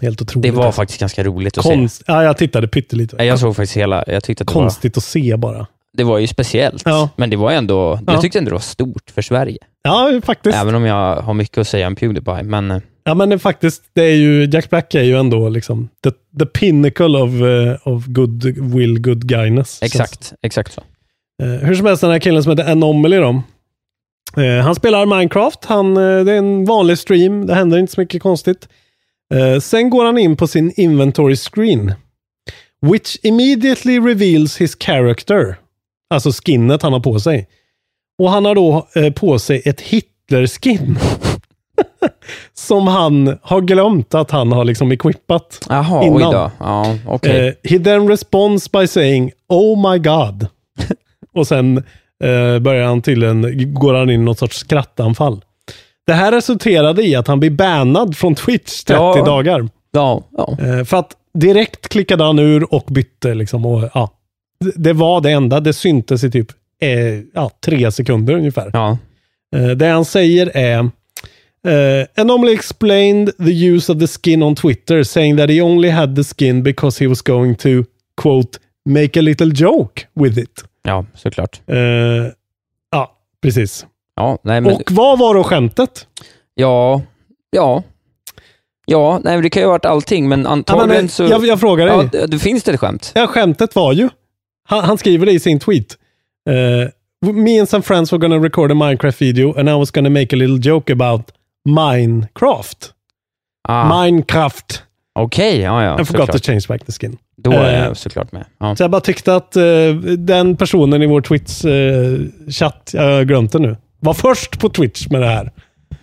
Helt otroligt.
Det var
alltså.
faktiskt ganska roligt att se.
Konst, ja, jag tittade pyttelite.
Nej, Jag såg faktiskt hela. Jag tyckte att det, var,
Konstigt att se bara.
det var ju speciellt,
Ja.
men det var ändå,
Ja.
jag tyckte ändå det var stort för Sverige.
Ja, faktiskt.
Även om jag har mycket att säga om Pewdiepie, men eh,
Ja, men det, faktiskt, det är ju, Jack Black är ju ändå liksom the, the pinnacle of, eh, of good will, good guyness.
exakt, exakt så.
Eh, hur som helst, den här killen som heter Anomaly då. Eh, han spelar Minecraft. Han, eh, det är en vanlig stream. Det händer inte så mycket konstigt. Eh, sen går han in på sin inventory screen. Which immediately reveals his character. Alltså skinnet han har på sig. Och han har då eh, på sig ett Hitler-skin. (laughs) som han har glömt att han har liksom equippat.
Jaha, oj
Innan.
då. Ja, okej.
Eh, he then responds by saying Oh my
(laughs)
God. och sen eh, börjar han tydligen, går han in i något sorts skrattanfall. Det här resulterade i att han blir bannad från Twitch 30
Ja.
dagar.
ja, ja.
Eh, för att direkt klickade han ur och bytte. Liksom, och, ja. Det- Det var det enda. Det syntes i typ eh, ja, tre sekunder ungefär.
ja.
Eh, Det han säger är eh, Anomaly explained the use of the skin on Twitter saying that he only had the skin because he was going to quote make a little joke with it.
ja såklart.
Eh, ja, precis.
Ja, nej, men,
Och vad var då skämtet?
ja, ja. Ja, nej, men det kan ju ha varit allting, men
Ja,
antagligen
men, eh,
så...
jag, jag frågar dig.
ja, det, det finns det ett skämt?
Ja, skämtet var ju, han, han skriver det i sin tweet. Eh, Me and some friends were gonna record a Minecraft video and I was gonna make a little joke about Minecraft.
Ah,
Minecraft.
Okej, ja, ja.
I forgot to
Såklart.
change back the skin.
Då är jag
eh,
såklart med. Ja.
Så jag bara tyckte att eh, den personen i vår Twitch-chatt, jag har glömt det nu, var först på Twitch med det här.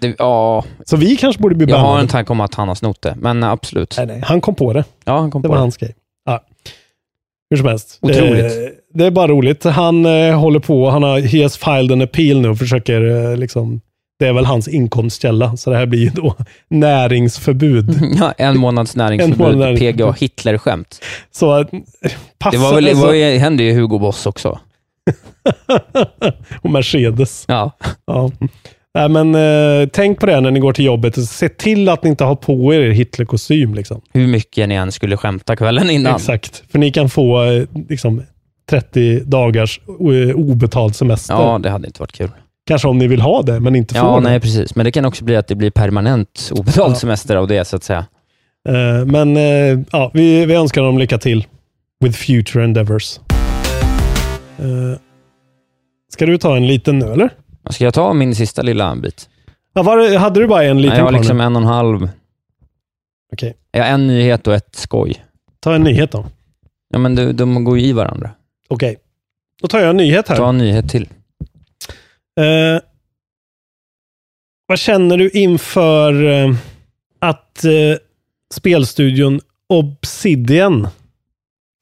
Det, ja,
Så vi kanske borde bli
jag har en
bannade.
tanke om att han har snott det, men eh, absolut.
Nej, nej, Han kom på det.
Ja, han kom
Eh, Det
på
var
det.
hans grej. Ja. Hur som helst.
Otroligt.
Eh, det är bara roligt. Han eh, håller på, han har, he has filed an appeal nu och försöker eh, liksom, det är väl hans inkomstkälla. Så det här blir ju då (laughs) näringsförbud.
(laughs) Ja, en
(laughs)
månads
En
näringsförbud,
månad.
PGA Hitler-skämt.
Så eh,
Det
passa
var väl, det
alltså.
var, ju- hände ju Hugo Boss också.
och Mercedes.
Ja.
Ja. Nej, men eh, tänk på det när ni går till jobbet. Se till att ni inte har på er Hitlerkostym. Liksom.
Hur mycket ni än skulle skämta kvällen innan.
Exakt. För ni kan få eh, liksom, 30 dagars eh, obetald semester.
Ja, det hade inte varit kul.
Kanske om ni vill ha det, men inte
Ja,
får
nej
det.
precis. Men det kan också bli att det blir permanent obetald
Ja.
semester av det, så att säga.
Eh, men eh, ja, vi, vi önskar dem lycka till with future endeavors. Eh, ska du ta en liten nu, eller?
Ska jag ta min sista lilla bit?
Ja, var, hade du bara en liten
Nej, jag har
kvar
liksom
nu?
en och en halv.
Okej.
Ja, en nyhet och ett skoj.
Ta en nyhet då.
Ja, men de, de går ju i varandra.
Okej. Då tar jag en nyhet här.
Ta en nyhet till.
Eh, vad känner du inför eh, att eh, spelstudion Obsidian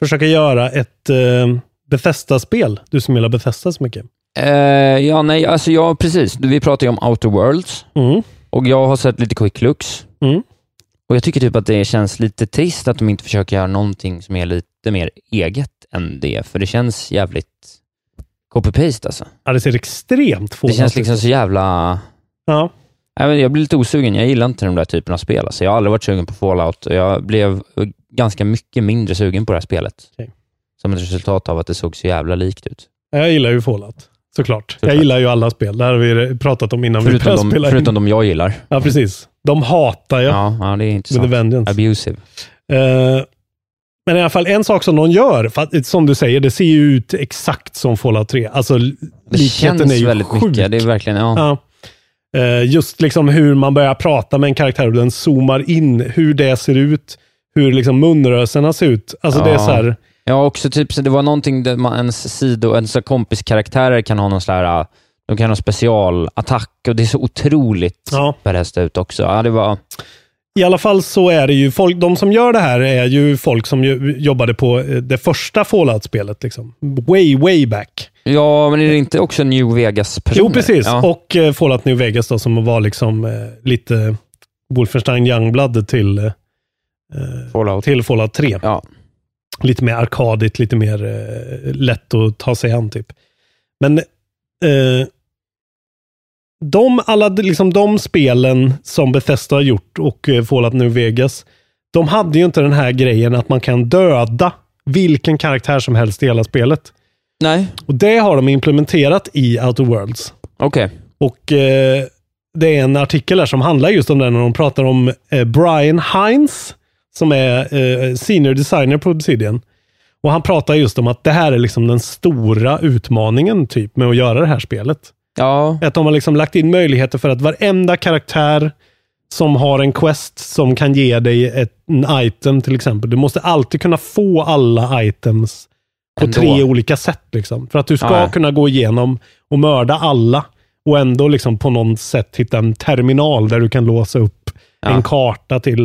försöker göra ett eh, Bethesda-spel? Du som gillar Bethesda så mycket.
Eh, ja, nej, alltså jag, precis. Vi pratade ju om Outer Worlds
Mm.
och jag har sett lite quick looks.
Mm.
Och jag tycker typ att det känns lite trist att de inte försöker göra någonting som är lite mer eget än det, för det känns jävligt copy-paste alltså.
Ja, det ser extremt
Det
fånigt
känns liksom så jävla...
Ja.
Nej, men jag blir lite osugen. Jag gillar inte den där typen av spel. Alltså, jag har aldrig varit sugen på Fallout och jag blev ganska mycket mindre sugen på det här spelet.
Okej.
Som ett resultat av att det såg så jävla likt ut.
Jag gillar ju Fallout. Såklart. Jag
Såklart.
gillar ju alla spel. Det här har vi pratat om innan vi
Förutom
började
de,
spela. in.
förutom de jag gillar.
Ja, precis. De hatar jag.
Ja, ja det
With a
är intressant.
vengeance.
Abusive.
Eh, Men i alla fall en sak som någon gör, för att, som du säger, det ser ju ut exakt som Fallout 3. Alltså, l-
Det
likheten är
känns
ju
väldigt
sjuk.
mycket. Det är verkligen, ja.
Ja. Eh, Just liksom hur man börjar prata med en karaktär och den zoomar in, hur det ser ut, hur liksom munrörelserna ser ut. Alltså det är
Ja.
så här,
Ja, också typ, så det var någonting där man, ens sido, ens kompiskaraktärer kan ha någon sån här, de kan ha specialattack och det är så otroligt
Ja.
ja. ut också. Ja, det var,
I alla fall så är det ju folk, de som gör det här är ju folk som ju, jobbade på eh, det första Fallout-spelet. Liksom. Way, way back.
Ja, men är det inte också New Vegas-personer?
Jo, precis.
Ja.
Och eh, Fallout New Vegas då, som var liksom eh, lite Wolfenstein Youngblood till, eh,
Fallout.
till Fallout 3.
Ja.
Lite mer arkadigt, lite mer eh, lätt att ta sig an typ. Men eh, de, alla, liksom, de spelen som Bethesda har gjort och eh, Fallout New Vegas, de hade ju inte den här grejen att man kan döda vilken karaktär som helst i hela spelet.
Nej,
Och det har de implementerat i Outer Worlds.
okej.
Och eh, det är en artikel här som handlar just om det när de pratar om eh, Brian Hines som är eh, senior designer på Obsidian. Och han pratar just om att det här är liksom den stora utmaningen typ med att göra det här spelet.
Ja,
Att de har liksom lagt in möjligheter för att varenda karaktär som har en quest som kan ge dig ett, en item till exempel. Du måste alltid kunna få alla items på
Ändå.
tre olika sätt. Liksom, för att du ska
Ja, ja.
kunna gå igenom och mörda alla och ändå liksom på något sätt hitta en terminal där du kan låsa upp en karta till.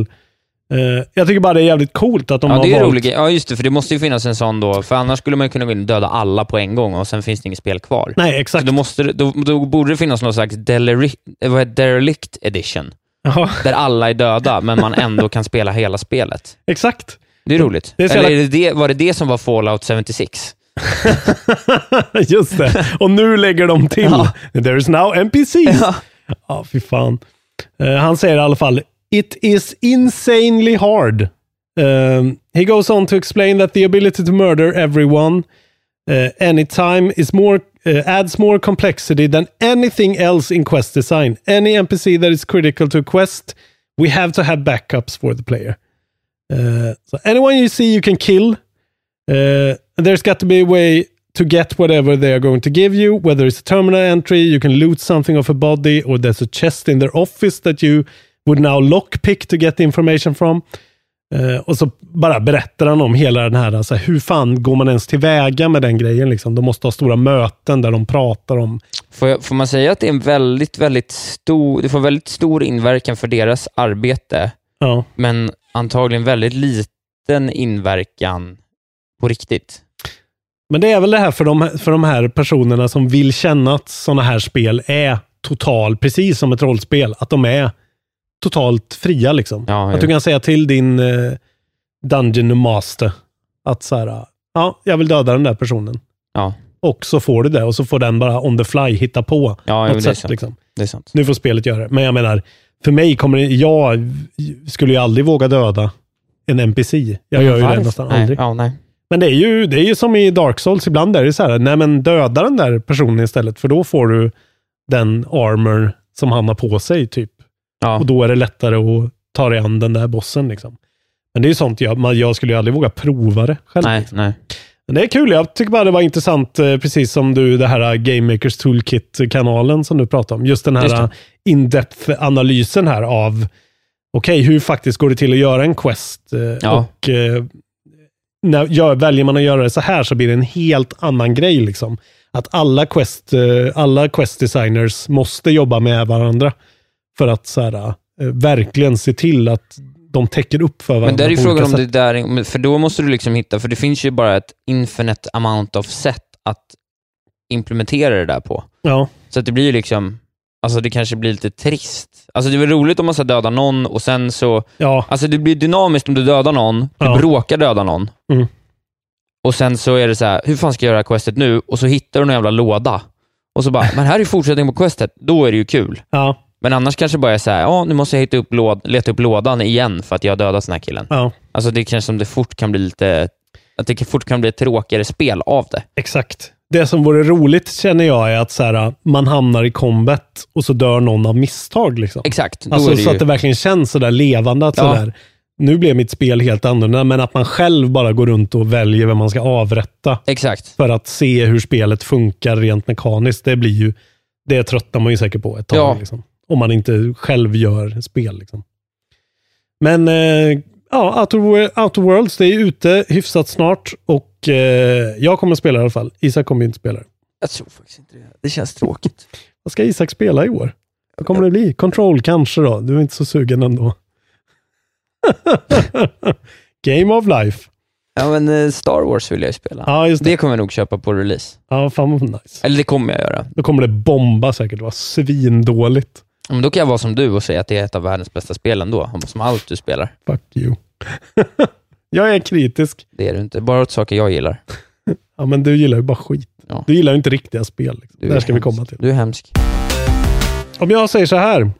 eh, jag tycker bara det är jävligt coolt att de
ja
har
det är
valt...
roligt. Ja, just det. För det måste ju finnas en sån då. För annars skulle man ju kunna gå in och döda alla på en gång och sen finns det inget spel kvar.
Nej,
Så
exakt.
då, måste, det- då, då borde det finnas någon slags deleri, eh, vad heter, derelict edition,
Ja, (laughs)
där alla är döda, men man ändå kan spela hela spelet.
exakt.
Det är roligt.
Det är så
Eller
jävla-
är det det, var det det som var Fallout 76?
(laughs) Just det. Och nu lägger de till. There is now NPCs. Ja, fy fan. Eh, han säger i alla fall, it is insanely hard. Um, he goes on to explain that the ability to murder everyone uh, anytime is more uh, adds more complexity than anything else in quest design. Any NPC that is critical to a quest, we have to have backups for the player. Uh, so anyone you see you can kill, uh, there's got to be a way to get whatever they are going to give you, whether it's a terminal entry, you can loot something off a body, or there's a chest in their office that you would now lockpick to get the information from. Eh, och så bara berättar han om hela den här, alltså, hur fan går man ens tillväga med den grejen? Liksom? De måste ha stora möten där de pratar om...
Får, jag, får man säga att det är en väldigt, väldigt stor, det får väldigt stor inverkan för deras arbete,
Ja,
men antagligen väldigt liten inverkan på riktigt.
Men det är väl det här för de, för de här personerna som vill känna att sådana här spel är total, precis som ett rollspel, att de är totalt fria. liksom.
Ja,
att
jo.
du kan säga till din eh, Dungeon Master att så här, ja, jag vill döda den där personen.
Ja,
Och så får du det och så får den bara on the fly hitta på
ja jo,
något
det, är
sätt.
sant.
Liksom.
det är sant.
Nu får spelet göra det. Men jag menar, för mig kommer det, jag skulle ju aldrig våga döda en NPC. Jag gör ju det
Varför?
nästan
nej,
aldrig.
Ja, nej.
Men det är, ju, det är ju som i Dark Souls, ibland är det så här, nej men döda den där personen istället, för då får du den armor som han har på sig typ.
Ja.
Och då är det lättare att ta dig an den där bossen liksom. Men det är ju sånt, jag, man, jag skulle ju aldrig våga prova det själv.
nej, nej.
Men det är kul, jag tycker bara det var intressant, eh, precis som du, det här eh, Game Makers Toolkit-kanalen som du pratade om. Just den
Just det.
här eh, in-depth-analysen här av, okej, hur faktiskt går det till att göra en quest? eh,
Ja.
Och eh, när, gör, väljer man att göra det så här så blir det en helt annan grej. Liksom. Att alla quest, eh, alla quest designers måste jobba med varandra för att så här, eh, verkligen se till att de täcker upp för varandra.
Men där är ju
på
frågan
olika
om
sätt.
det där, är- för då måste du liksom hitta, för det finns ju bara ett infinite amount of sätt att implementera det där på.
Ja,
Så att det blir ju liksom, alltså det kanske blir lite trist. Alltså det är väl roligt om man ska döda någon och sen så,
ja,
alltså det blir dynamiskt om du dödar någon, du
Ja.
råkar döda någon.
Mm.
Och sen så är det så här, hur fan ska jag göra questet nu? Och så hittar du någon jävla låda. Och så bara, men här är ju fortsättning på questet. Då är det ju kul.
ja,
Men annars kanske bara är så här, ja nu måste jag hitta upp låd- leta upp lådan igen för att jag har dödat den här killen.
ja,
Alltså det känns som det fort kan bli lite, att det fort kan bli ett tråkigare spel av det.
exakt. Det som vore roligt känner jag är att så här, man hamnar i combat och så dör någon av misstag. Liksom.
Exakt, då
Alltså
är det
så
ju...
att det verkligen känns sådär levande. Att
Ja.
sådär, nu blev mitt spel helt annorlunda, men att man själv bara går runt och väljer vem man ska avrätta
Exakt.
för att se hur spelet funkar rent mekaniskt. Det blir ju, det tröttnar man ju säkert på ett tag.
Ja.
Liksom, om man inte själv gör spel. Liksom. Men eh, ja, Outer, Wo- Outer Worlds, det är ute hyfsat snart och eh, jag kommer spela i alla fall. Isak kommer ju inte spela.
Jag tror faktiskt inte det. Det känns tråkigt.
Vad ska Isak spela i år? Vad kommer det bli? Control kanske då? Du är inte så sugen ändå. (laughs) Game of life.
Ja, men eh, Star Wars vill jag ju spela.
Ja, just det.
Det kommer jag nog köpa på release.
Ja, fan vad nice.
Eller det kommer jag göra.
Då kommer det bomba säkert. Det var svindåligt.
Men då kan jag vara som du och säga att det är ett av världens bästa spel ändå, som allt du spelar.
Fuck you. (laughs) jag är kritisk.
Det är du inte. Bara åt saker jag gillar.
Ja, men du gillar ju bara skit.
Ja.
Du gillar ju inte riktiga spel. Liksom.
Du
Det här
är
ska vi
hemsk.
komma till.
Du är hemsk.
Om jag säger så här.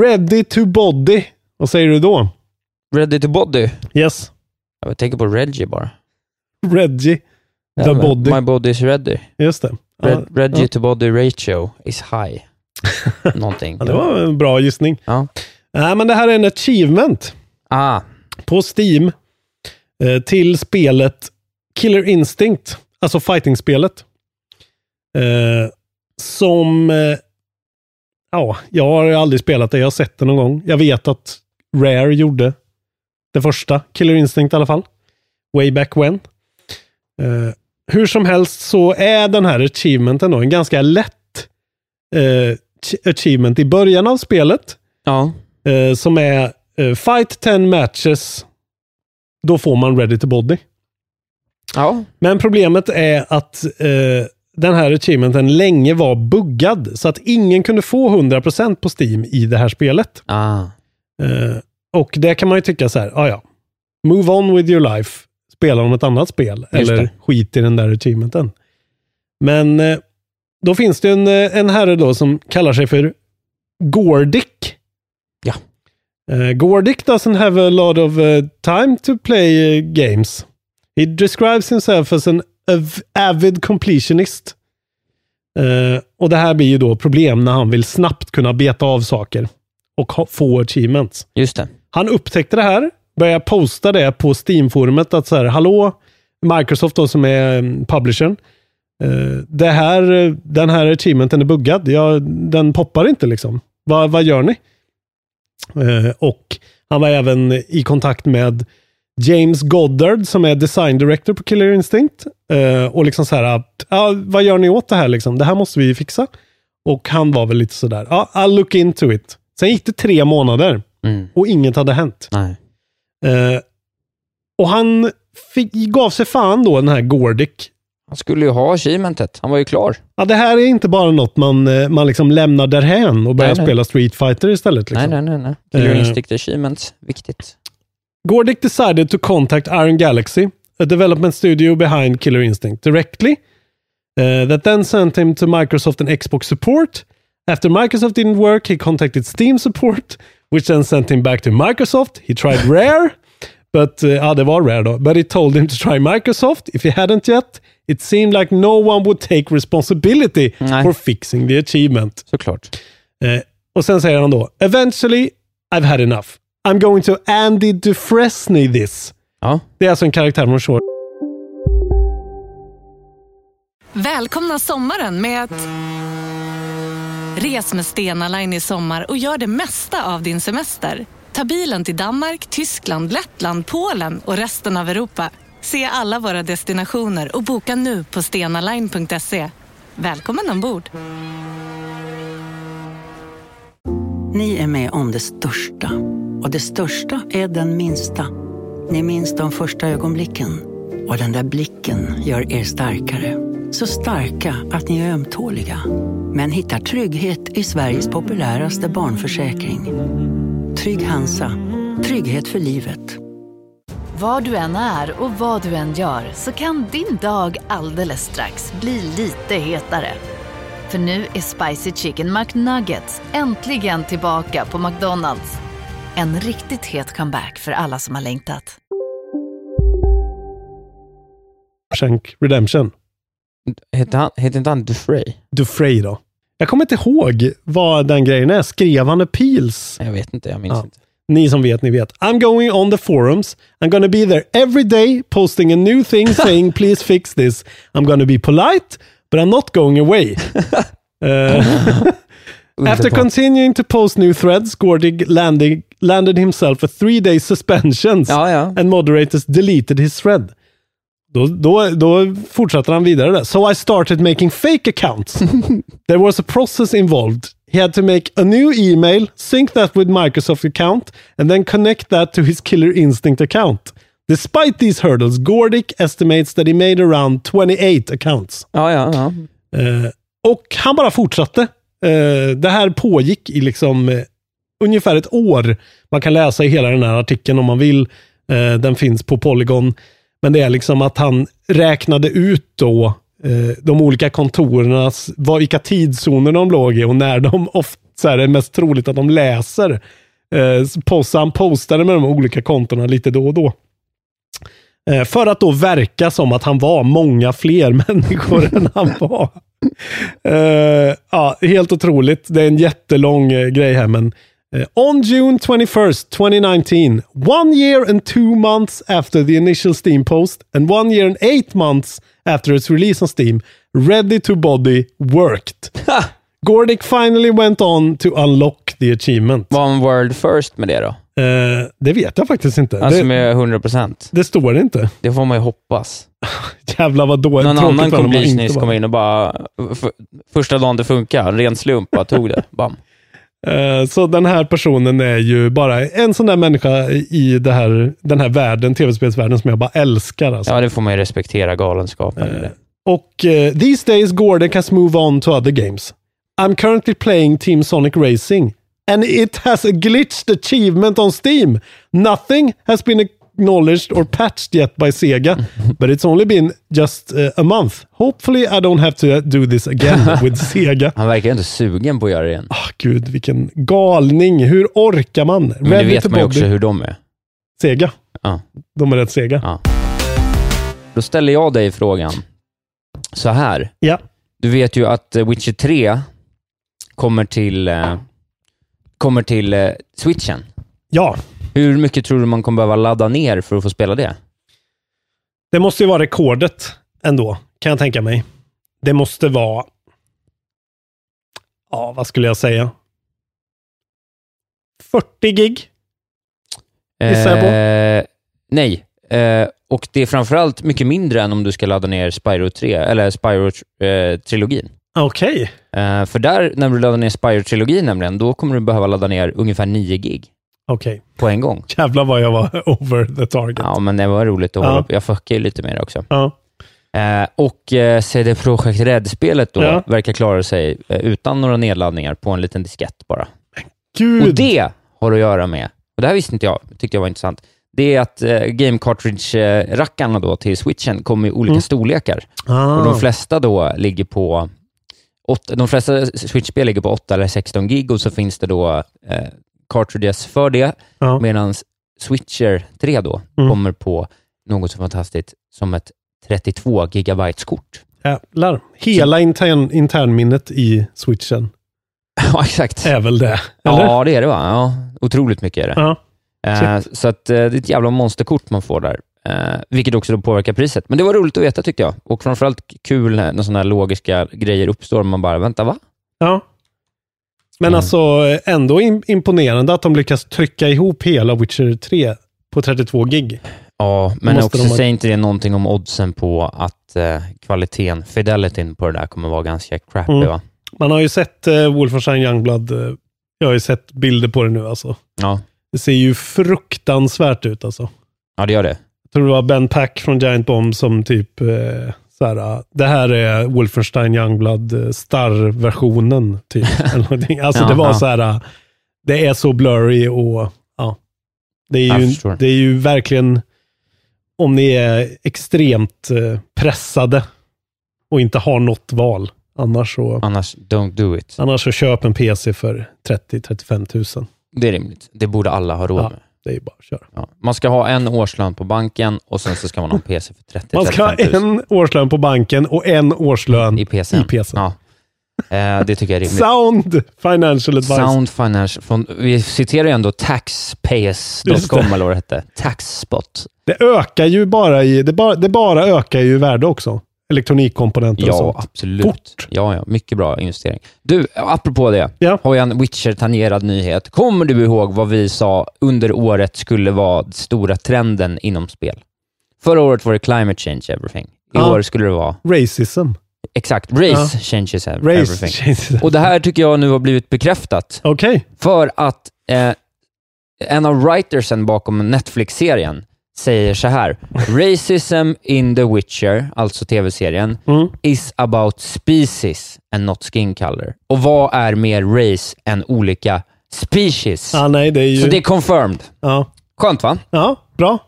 Ready to body. Vad säger du då?
Ready to body.
Yes.
Jag tänker på Reggie bara.
Reggie. The
Ja, men
body.
My body is ready.
Just det. Ja,
Red, Reggie
ja.
to body ratio is
(laughs)
high. Någonting.
Ja, det var en bra gissning.
Ja.
Nej, men det här är en achievement.
Ah,
på Steam eh, till spelet Killer Instinct, alltså fighting-spelet. Eh, som... Eh, ja, jag har aldrig spelat det. Jag har sett det någon gång. Jag vet att Rare gjorde det första, Killer Instinct i alla fall. Way back when. Eh, hur som helst så är den här achievementen då en ganska lätt eh, ch- achievement i början av spelet.
ja.
Eh, som är eh, Fight 10 matches. Då får man ready to body.
Ja,
Men problemet är att eh, den här achievementen länge var buggad. Så att ingen kunde få 100% på Steam i det här spelet.
ah.
Eh, och det kan man ju tycka så här, "Ah, ja ja. Move on with your life. Spela om ett annat spel.
Just
eller
det.
skit i den där achievementen. Men eh, då finns det en, eh, en herre då som kallar sig för Gordick.
Ja.
Eh, Gordick doesn't have a lot of eh, time to play eh, games. He describes himself as an av- avid completionist. Eh, och det här blir ju då problem när han vill snabbt kunna beta av saker och ha, få achievements.
just det.
Han upptäckte det här, började posta det på Steam-forumet att så här, hallå, Microsoft då som är mm, publishern. Eh, det här, eh, den här achievementen är buggad. Ja, den poppar inte liksom. Va, vad gör ni? Eh, och han var även i kontakt med James Goddard som är design director på Killer Instinct. Eh, och liksom så här, att, ja, vad gör ni åt det här liksom? Det här måste vi fixa. Och han var väl lite sådär, ja, I'll look into it. Sen gick det tre månader
Mm.
och inget hade hänt.
Nej.
Eh, och han fick, gav sig fan då, den här Gordick.
Han skulle ju ha achievementet. Han var ju klar.
Ja, det här är inte bara något man, eh, man liksom lämnar därhän och börjar
Nej, nej.
spela Street Fighter istället. Liksom.
Nej, nej, nej. nej. Killer
Eh.
Instinct Achievements. Viktigt.
Gordick decided to contact Iron Galaxy, a development studio behind Killer Instinct, directly. Uh, that then sent him to Microsoft and Xbox support. After Microsoft didn't work, he contacted Steam support, which then sent him back to Microsoft. He tried Rare, but uh, ja, det var Rare då. But it told him to try Microsoft. If he hadn't yet, it seemed like no one would take responsibility
Nej.
for fixing the achievement.
Såklart.
Eh, och sen säger han då, eventually I've had enough. I'm going to Andy Dufresne this.
Ja.
Det är alltså en karaktär från Short.
Välkomna sommaren med att... Res med Stena Line i sommar och gör det mesta av din semester. Ta bilen till Danmark, Tyskland, Lettland, Polen och resten av Europa. Se alla våra destinationer och boka nu på stenaline.se. Välkommen ombord!
Ni är med om det största. Och det största är den minsta. Ni minns de första ögonblicken. Och den där blicken gör er starkare. Så starka att ni är ömtåliga. Men hittar trygghet i Sveriges populäraste barnförsäkring. Trygg Hansa. Trygghet för livet.
Var du än är och vad du än gör så kan din dag alldeles strax bli lite hetare. För nu är Spicy Chicken McNuggets äntligen tillbaka på McDonalds. En riktigt het comeback för alla som har längtat.
Shank Redemption.
Hette, han, hette inte han Dufray?
Dufresne då. Jag kommer inte ihåg vad den grejen är. Skrev han appeals?
Jag vet inte. Jag minns
Ja.
inte.
Ni som vet, ni vet. I'm going on the forums. I'm gonna be there every day posting a new
(laughs)
thing saying please fix this. I'm gonna be polite, but I'm not going
(laughs)
away. Eh, After
Underbart.
continuing to post new threads, Gordig landing, landed himself a three day suspension
Ja, ja.
and moderators deleted his thread. Då, då, då fortsätter han vidare där. So I started making fake accounts. There was a process involved he had to make a new email, sync that with Microsoft account, and then connect that to his Killer Instinct account. Despite these hurdles, Gordic estimates that he made around 28 accounts.
Ja, ja, ja.
Eh, och han bara fortsatte. Eh, det här pågick i liksom eh, ungefär ett år. Man kan läsa i hela den här artikeln om man vill. Eh, den finns på Polygon. Men det är liksom att han räknade ut då eh, de olika kontorernas, vad, vilka tidszoner de låg i och när de (laughs) ofta så här, är mest troligt att de läser. Eh, post, han postade med de olika kontona lite då och då. Eh, För att då verka som att han var många fler (laughs) människor än han var. Eh, ja, helt otroligt. Det är en jättelång eh, grej här, men eh, On June 21st, 2019, one year and two months after the initial Steam post and one year and eight months after its release on Steam, Ready to Body worked. Gordic finally went on to unlock the achievement.
Var han world first med det då?
Eh, det vet jag faktiskt inte.
Alltså
det,
med 100 procent.
det står det inte. (laughs)
Det får man ju hoppas.
Jävlar vad dåligt.
Någon
Tråkigt
annan
för honom
kom
att
precis
inte
nyss,
vara
kom in och bara... För, första dagen det funkar, ren slump, bara tog det. Bam.
Eh, Så den här personen är ju bara en sån där människa i det här, den här världen, tv-spelsvärlden, som jag bara älskar. Alltså.
Ja, det får man ju respektera galenskapen. i det.
Och eh, these days Gordon has move on to other games. I'm currently playing Team Sonic Racing and it has a glitched achievement on Steam. Nothing has been acknowledged or patched yet by
(laughs)
Sega, but it's only been just eh, a month. Hopefully I don't have to eh, do this
(laughs)
again with Sega.
Han verkar ju inte sugen på att göra det igen.
Ah, Gud, vilken galning. Hur orkar man?
Men det vet
to
man ju
Bobby.
också hur de är.
Sega.
Ja.
De är rätt sega.
Ja. Då ställer jag dig frågan så här.
Ja.
Du vet ju att eh, Witcher 3 kommer till, eh, kommer till eh, switchen.
Ja,
Hur mycket tror du man kommer behöva ladda ner för att få spela det?
det måste ju vara rekordet ändå, kan jag tänka mig. Det måste vara... Ja, vad skulle jag säga? 40 gig? Gissar jag på.
Eh, nej. Eh, och det är framförallt mycket mindre än om du ska ladda ner Spyro 3, eller Spyro-trilogin.
Okej.
Eh, för där, när du laddar ner Spyro-trilogin nämligen, då kommer du behöva ladda ner ungefär 9 gig
Okej.
på en gång.
Jävlar vad jag var (laughs) over the target. Ja.
Ja, men det var roligt att
Ja.
hålla på. Jag fuckar ju lite med det också. Eh, och eh, CD Projekt Red-spelet då
Ja.
verkar klara sig eh, utan några nedladdningar på en liten diskett bara.
Gud!
Och det har att göra med, och det här visste inte jag, tyckte jag var intressant, det är att eh, Game Cartridge-rackarna då till switchen kommer i olika storlekar.
ah.
Och de flesta då ligger på åt- de flesta Switch-spel ligger på 8 eller 16 gig och så finns det då eh, cartridges för det,
ja.
medan Switcher 3 då
Mm.
kommer på något så fantastiskt som ett 32 gigabytes-kort.
Jävlar. Hela intern, internminnet i switchen
(laughs) Ja, exakt.
är väl det? Eller?
Ja, det är det va? Ja, otroligt mycket är det.
Ja.
Eh, så att, eh, det är ett jävla monsterkort man får där, eh, vilket också då påverkar priset. Men det var roligt att veta tyckte jag. Och framförallt kul när när sådana här logiska grejer uppstår. Man bara, vänta va?
Ja. Men
Mm.
alltså ändå im- imponerande att de lyckas trycka ihop hela Witcher 3 på 32 gig.
Ja, men
Måste
också
de ha-
säger inte det någonting om oddsen på att eh, kvaliteten, fidelityn på det där kommer vara ganska crappy
Mm.
va?
Man har ju sett eh, Wolfenstein Youngblood. Eh, jag har ju sett bilder på det nu alltså.
Ja.
Det ser ju fruktansvärt ut alltså.
ja, det gör det.
Jag tror det var Ben Pack från Giant Bomb som typ eh, så här, ah, det här är Wolfenstein Youngblood eh, Star-versionen. Typ,
(laughs)
eller någonting. alltså
Ja,
det var
ja.
så här, ah, det är så blurry och ja. Det är
Jag
ju,
förstår.
det är ju verkligen, om ni är extremt eh, pressade och inte har något val, annars så,
Annars, don't do it.
annars så köp en PC för 30-35 000.
Det är rimligt. Det borde alla ha råd
Ja.
med.
Det är ju bara att köra.
Ja. Man ska ha en årslön på banken och sen så ska man ha en PC för 30
Man ska ha
35 000.
en årslön på banken och en årslön
I PCn.
i PCn.
Ja. Eh, det tycker jag är rimligt.
Sound Financial Advice.
Sound Financial, från, vi citerar ju ändå
Just det.
taxpayers.com eller vad det hette. Taxspot.
Det ökar ju bara i, det bara, det bara ökar ju i värde också. Elektronikkomponenter och
Ja,
sånt.
absolut.
Fort.
Ja, ja, mycket bra investering. Du, apropå det,
Ja.
har jag en Witcher-tangerad nyhet. Kommer du ihåg vad vi sa under året skulle vara den stora trenden inom spel? Förra året var det climate change everything. I
Ja.
år skulle det vara
Racism.
Exakt. Race
Ja.
changes ev-
Race
everything.
changes
Och det här tycker jag nu har blivit bekräftat.
Okej.
För att eh, en av writersen bakom Netflix-serien säger så här. Racism in The Witcher, alltså tv-serien,
Mm.
is about species and not skin color. Och vad är mer race än olika species?
Ah, nej, det är ju...
Så det är confirmed.
Ja.
Skönt va?
Ja, bra.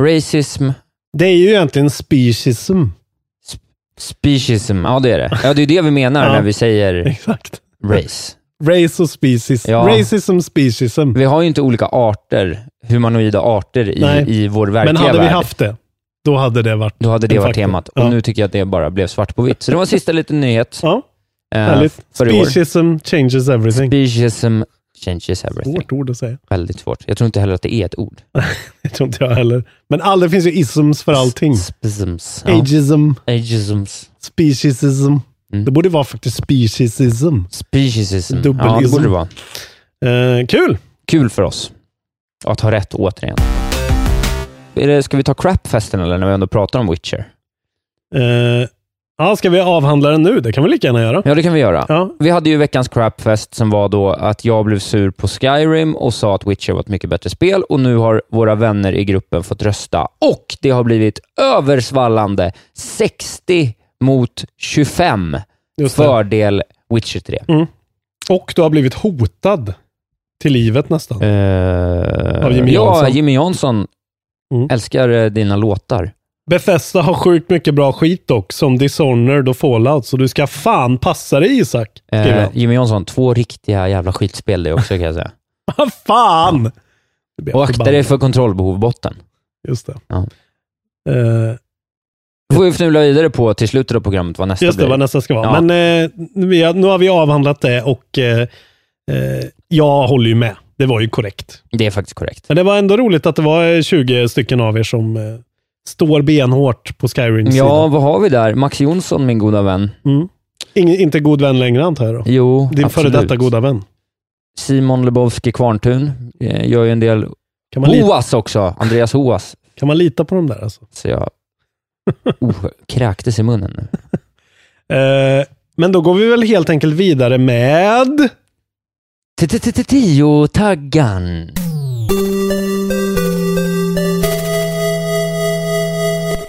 Racism.
Det är ju egentligen speciesism. (laughs)
Speciesism, ja det är det. Ja, det är det vi
(laughs)
menar
Ja.
när vi säger
Exakt.
race.
Race och species.
Ja.
Racism, speciesism.
Vi har ju inte olika arter, humanoida arter i,
Nej.
i vår verkliga
Men hade vi
värld.
haft det, då hade det varit...
Då hade det
en
varit
faktor.
temat. Och
Ja.
nu tycker jag att det bara blev svart på vitt. Så det var sista liten nyhet.
Ja,
eh,
härligt.
för i år.
Speciesism changes everything.
Speciesism changes everything.
Svårt ord att säga. (laughs)
Väldigt svårt. Jag tror inte heller att det är ett ord.
Det tror inte jag heller. Men all, det finns ju isms för allting.
Spisms. Ja.
Ageism,
Ageisms.
speciesism.
Mm.
Det borde vara faktiskt speciesism.
Speciesism. Ja, det
Dubbelism.
borde det vara.
Eh, kul!
Kul för oss att ha rätt återigen. Är det- Ska vi ta crapfesten eller när vi ändå pratar om Witcher?
Eh, ja, ska vi avhandla den nu? Det kan vi lika gärna göra.
Ja, det kan vi göra.
Ja.
Vi hade ju veckans crapfest som var då att jag blev sur på Skyrim och sa att Witcher var ett mycket bättre spel och nu har våra vänner i gruppen fått rösta och det har blivit översvallande 60 mot 25
Just det.
fördel Witcher 3.
Och du har blivit hotad till livet nästan.
Eh,
Av Jimmy
ja,
Jansson.
Jimmy Jansson.
Mm.
Älskar eh, dina låtar.
Bethesda har sjukt mycket bra skit dock, som Dishonored och Fallout, så du ska fan passa dig Isak. skriver
Eh,
han.
Jimmy Jansson, två riktiga jävla skitspel det också kan jag säga.
Vad fan! Det blir (laughs) jag
Och akta
förbannad.
dig för kontrollbehovbotten.
Just det.
Ja.
Eh,
Då får vi fnula vidare på till slutet av programmet vad nästa
just det,
blir.
vad nästa ska vara.
Ja.
Men eh, vi har, nu har vi avhandlat det och eh, eh, jag håller ju med. Det var ju korrekt.
Det är faktiskt korrekt.
Men det var ändå roligt att det var eh, 20 stycken av er som eh, står benhårt på Skyrims
Ja,
sida.
vad har vi där? Max Jonsson, min goda vän.
Mm. Ingen, inte god vän längre antar jag då.
Jo,
Din
absolut.
före detta goda vän.
Simon Lebowski Kvarntun eh, gör ju en del.
Kan man, lita,
Hoas också! Andreas Hoas.
kan man lita på dem där alltså? (laughs)
Så jag oh, kräktes i munnen nu.
Eh, men då går vi väl helt enkelt vidare med...
Tio-taggan.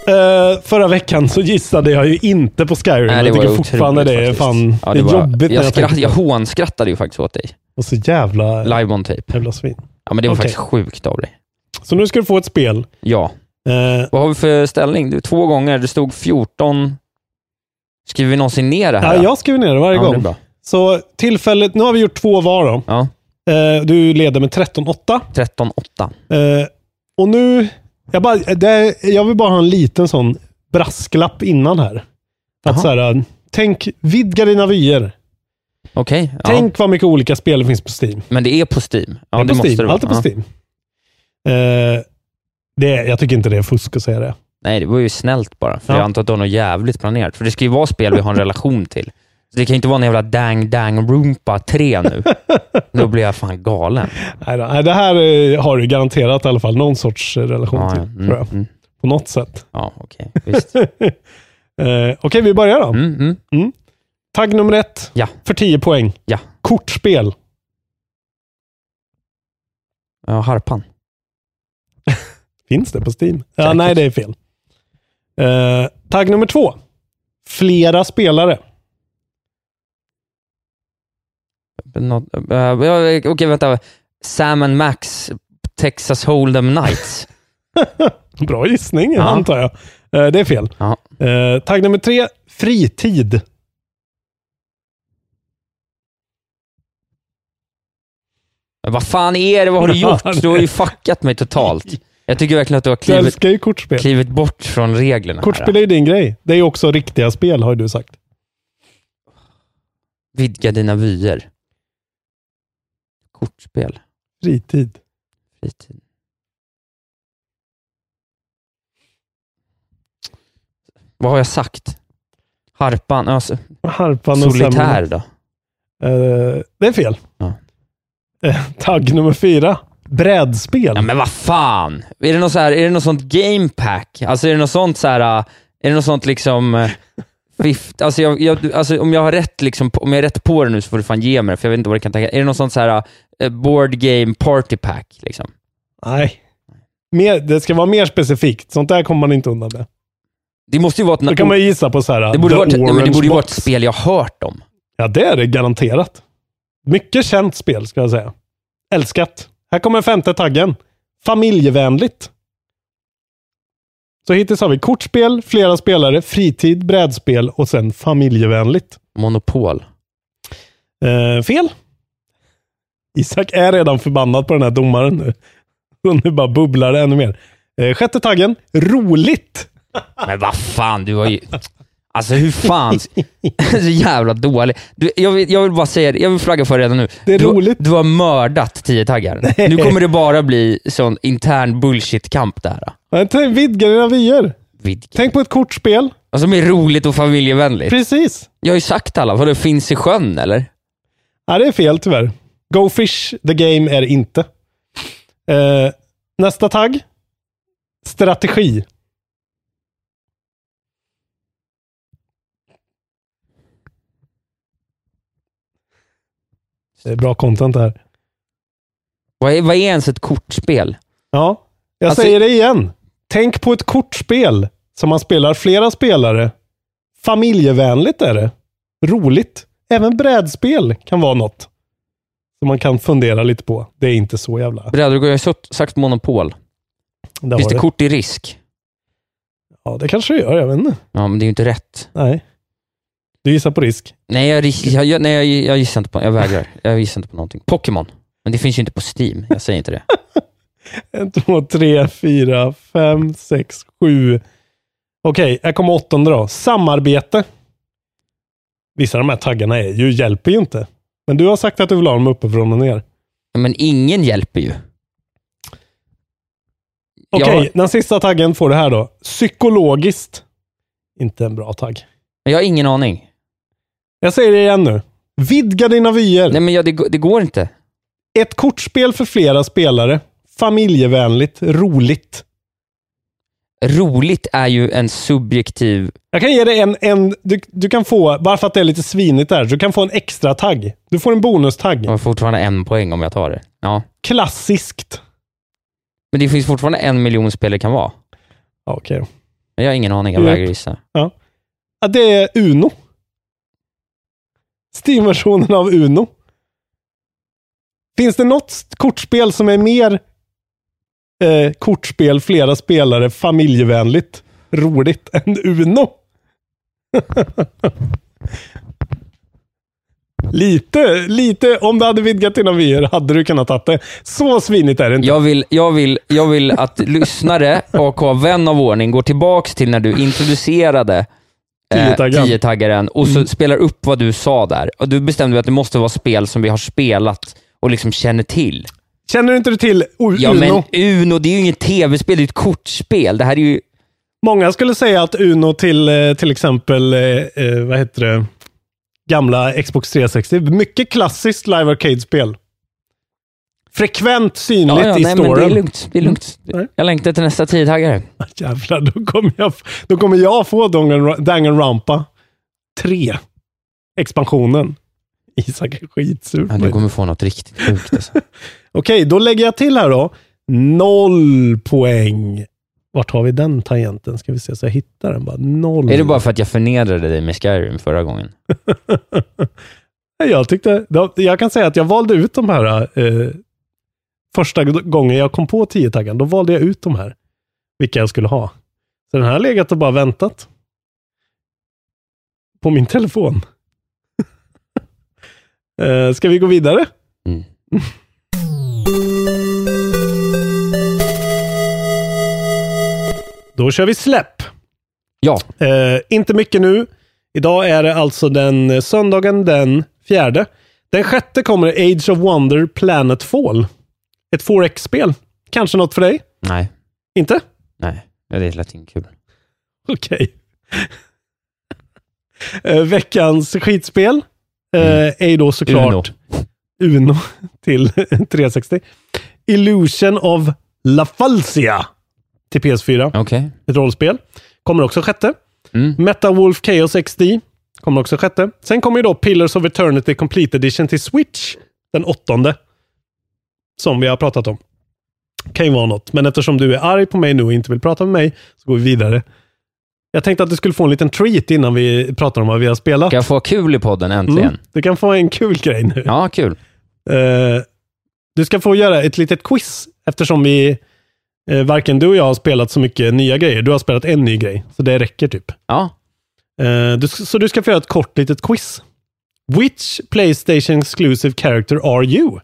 Eh, förra veckan så gissade jag ju inte på Skyrim.
Nej,
jag
var
tycker
otroligt
fortfarande det är
faktiskt.
fan...
Ja,
det är
var-
jobbigt
jag,
när jag
skratt,
tänker
jag
på det.
hånskrattar ju faktiskt åt dig.
Och så jävla,
Live on tape.
jävla svin.
Ja, men det var
Okej.
faktiskt sjukt av dig.
Så nu ska du få ett spel.
Ja.
Eh,
Vad har vi för ställning? Du, två gånger. Det stod 14. Skriver vi någonsin ner det här?
ja, jag skriver ner det varje
Ja, men det är
gång.
bra.
Så tillfället, nu har vi gjort två var då.
Ja,
Eh, du leder med 13-8.
13-8.
Eh, och nu, jag, bara, det, jag vill bara ha en liten sån brasklapp innan här.
Jaha.
Att så här, eh, tänk, vidga dina vyer.
Okej. ja.
Tänk vad mycket olika spel det finns på Steam.
Men det är på Steam. Ja,
Det är
det
på
måste
Steam.
det vara.
Allt är på
Ja.
Steam. Eh, det, är- jag tycker inte det är fusk att säga det.
Nej, det var ju snällt bara. För
Ja.
jag antar att du har något jävligt planerat. För det ska ju vara spel
(laughs)
vi har en relation till. Så det kan ju inte vara en jävla Dang Dang Roompa 3 nu. Då blir jag fan galen.
Nej, då, nej, det här eh, har du garanterat i alla fall någon sorts eh, relation
Ja,
till.
ja. Mm,
Tror jag.
mm.
På något sätt. (laughs)
ja okej. Visst.
Eh, Okej, vi börjar då.
Mm, mm.
Tagg nummer ett.
Ja.
För 10 poäng.
Ja.
Kortspel.
ja, harpan.
Finns det på Steam? Ja,
Säkert.
nej, det är fel. Eh, tagg nummer två. Flera spelare.
Något- eh, ja, Okej, vänta. Sam and Max, Texas Hold'em Knights.
Bra gissning,
Ja.
antar jag. Eh, det är fel.
Ja.
Eh, tagg nummer tre. Fritid.
Men Vad fan är det? Vad har du
Ja,
gjort? Du har ju fuckat
(laughs)
mig totalt. Jag tycker verkligen att du har
Jag
klivit,
älskar ju kortspel.
klivit bort från reglerna. här.
Kortspel är ju din grej. Det är ju också riktiga spel, har ju du sagt.
Vidga dina vyer. Kortspel.
Fritid.
Fritid. Vad har jag sagt? Harpan, alltså,
Harpan och
solitär då?
sämjan. Eh, det är fel.
Ja.
Eh, tagg nummer fyra. Brädspel.
Ja, men vad fan! Är det något, så här, är det något sånt gamepack? Alltså är det något sånt så här, äh, är det något sånt liksom eh, vift, alltså, jag, jag, alltså om jag har rätt liksom, om jag är rätt på det nu så får du fan ge mig det, för jag vet inte vad det kan tänka. Är det någon sån så här eh, board game party pack liksom?
Nej. Mer, det ska vara mer specifikt. Sånt där kommer man inte undan med.
Det måste ju vara ett...
Då kan man ju gissa på så här,
det borde,
The
varit, nej, men det
Orange
borde ju vara ett
Box.
spel jag hört om.
Ja, det är det garanterat. Mycket känt spel, ska jag säga. Älskat. Här kommer femte taggen. Familjevänligt. Så hittills har vi kortspel, flera spelare, fritid, brädspel och sen familjevänligt.
Monopol.
Eh, fel. Isak är redan förbannad på den här domaren nu. Och nu bara bubblar det ännu mer. Eh, sjätte taggen. Roligt.
Men vad fan, du har ju... Alltså hur
(laughs)
fan... (laughs) Så jävla dålig. Du, jag, vill, jag vill bara säga det. jag vill flagga för det redan nu.
Det är
du,
roligt.
Du har mördat tio taggar.
Nej.
Nu kommer det bara bli sån intern bullshit-kamp det här.
Nej, tänk- Vidga dina vyer.
Vidga.
Tänk på ett kortspel.
Och som är roligt och familjevänligt.
Precis.
Jag har ju sagt alla, vad det finns i sjön eller?
Ja, det är fel tyvärr. Go fish the game är det inte. Eh, nästa tagg. Strategi. Det är bra content det här.
Vad är, vad är ens ett kortspel?
Ja, jag
Alltså-
säger det igen. Tänk på ett kortspel som man spelar flera spelare. Familjevänligt är det. Roligt. Även brädspel kan vara något som man kan fundera lite på. Det är inte så jävla...
Brädor går jag har sagt- sagt monopol.
Där
finns
var
det kort i risk?
Ja, det kanske det gör. Jag vet inte.
Ja, men det är ju inte rätt.
Nej. Du gissar på risk.
Nej, jag, ris- jag, jag, nej, jag, jag gissar inte på... Jag vägrar. Jag gissar inte på någonting. Pokémon. Men det finns ju inte på Steam. Jag säger
(laughs)
inte det.
1, 2, 3, 4, 5, 6, 7. Okej, här kommer åttonde då. Samarbete. Vissa av de här taggarna är ju, hjälper ju inte. Men du har sagt att du vill ha dem uppifrån och ner.
Ja, Men ingen hjälper ju.
Okej,
Jag,
den sista taggen får det här då. Psykologiskt. Inte en bra tagg.
jag har ingen aning.
Jag säger det igen nu. Vidga dina vyer.
Nej, men jag, det, går- det går inte.
Ett kortspel för flera spelare. Familjevänligt, roligt.
Roligt är ju en subjektiv...
Jag kan ge dig en, en du, du kan få, bara för att det är lite svinigt där, du kan få en extra tagg. Du får en bonustagg.
Jag har fortfarande en poäng om jag tar det. Ja.
Klassiskt.
Men det finns fortfarande en miljon spel det kan vara.
Ja, Okej.
Men jag har ingen aning. Jag
Japp.
vägrar gissa.
Ja. ja. Det är Uno. Steam-versionen av Uno. Finns det något kortspel som är mer eh, kortspel, flera spelare, familjevänligt, roligt än Uno? (laughs) lite, lite. Om du hade vidgat dina vyer hade du kunnat ta det. Så svinigt är det inte.
Jag vill, jag vill, jag vill att (laughs) lyssnare och vän av ordning går tillbaks till när du introducerade
Tiotaggaren.
Eh, tiotaggaren och
Mm.
så spelar upp vad du sa där. Och du bestämde att det måste vara spel som vi har spelat och liksom känner till.
Känner du inte du till U-
Ja,
Uno?
men Uno, det är ju inget tv-spel, det är ett kortspel. Det här är ju...
Många skulle säga att Uno till eh, till exempel, eh, eh, vad heter det, gamla Xbox 360. Mycket klassiskt live arcade-spel. Frekvent, synligt
Ja, ja,
i
nej, men det är
storyn.
lugnt. Det är lugnt.
Mm. Nej.
Jag längtar till nästa tiotaggare.
(laughs) Jävlar, då kommer jag, då kommer jag få Dangan- Danganronpa 3. Expansionen. Isak är skitsur.
Ja,
på mig.
du kommer få något riktigt sjukt alltså.
(laughs) Okej, då lägger jag till här då. Noll poäng. Vart har vi den tangenten? Ska vi se så jag hittar den. Bara noll.
Är det bara för att jag förnedrade dig med Skyrim förra gången?
Nej, Jag tyckte, de- jag kan säga att jag valde ut de här eh, första g- gången jag kom på 10-taggen. Då valde jag ut de här, vilka jag skulle ha. Så den här har legat och bara väntat. På min telefon. (laughs) eh, ska vi gå vidare?
Mm.
(laughs) Då kör vi släpp.
Ja.
Eh, inte mycket nu. Idag är det alltså den eh, söndagen den fjärde. Den sjätte kommer Age of Wonder Planetfall. Ett 4X-spel. Kanske något för dig?
Nej.
Inte? (laughs)
Nej. Ja, det lät inte kul.
Okej. Eh, veckans skitspel eh, är ju då såklart Uno, (laughs) till 360. Illusion of La Falsia till PS4.
Okej.
Ett rollspel. Kommer också sjätte. Meta Wolf Chaos XD kommer också sjätte. Sen kommer ju då Pillars of Eternity Complete Edition till Switch den åttonde. Som vi har pratat om. Kan ju vara något, men eftersom du är arg på mig nu och inte vill prata med mig så går vi vidare. Jag tänkte att du skulle få en liten treat innan vi pratar om vad vi har spelat.
Kan jag få kul i podden äntligen?
Mm, du kan få en kul grej nu.
Ja, kul.
Eh, du ska få göra ett litet quiz eftersom vi eh, varken du och jag har spelat så mycket nya grejer. Du har spelat en ny grej, så det räcker typ.
Ja.
Eh, du, så du ska få göra ett kort litet quiz. Which Playstation exclusive character are you?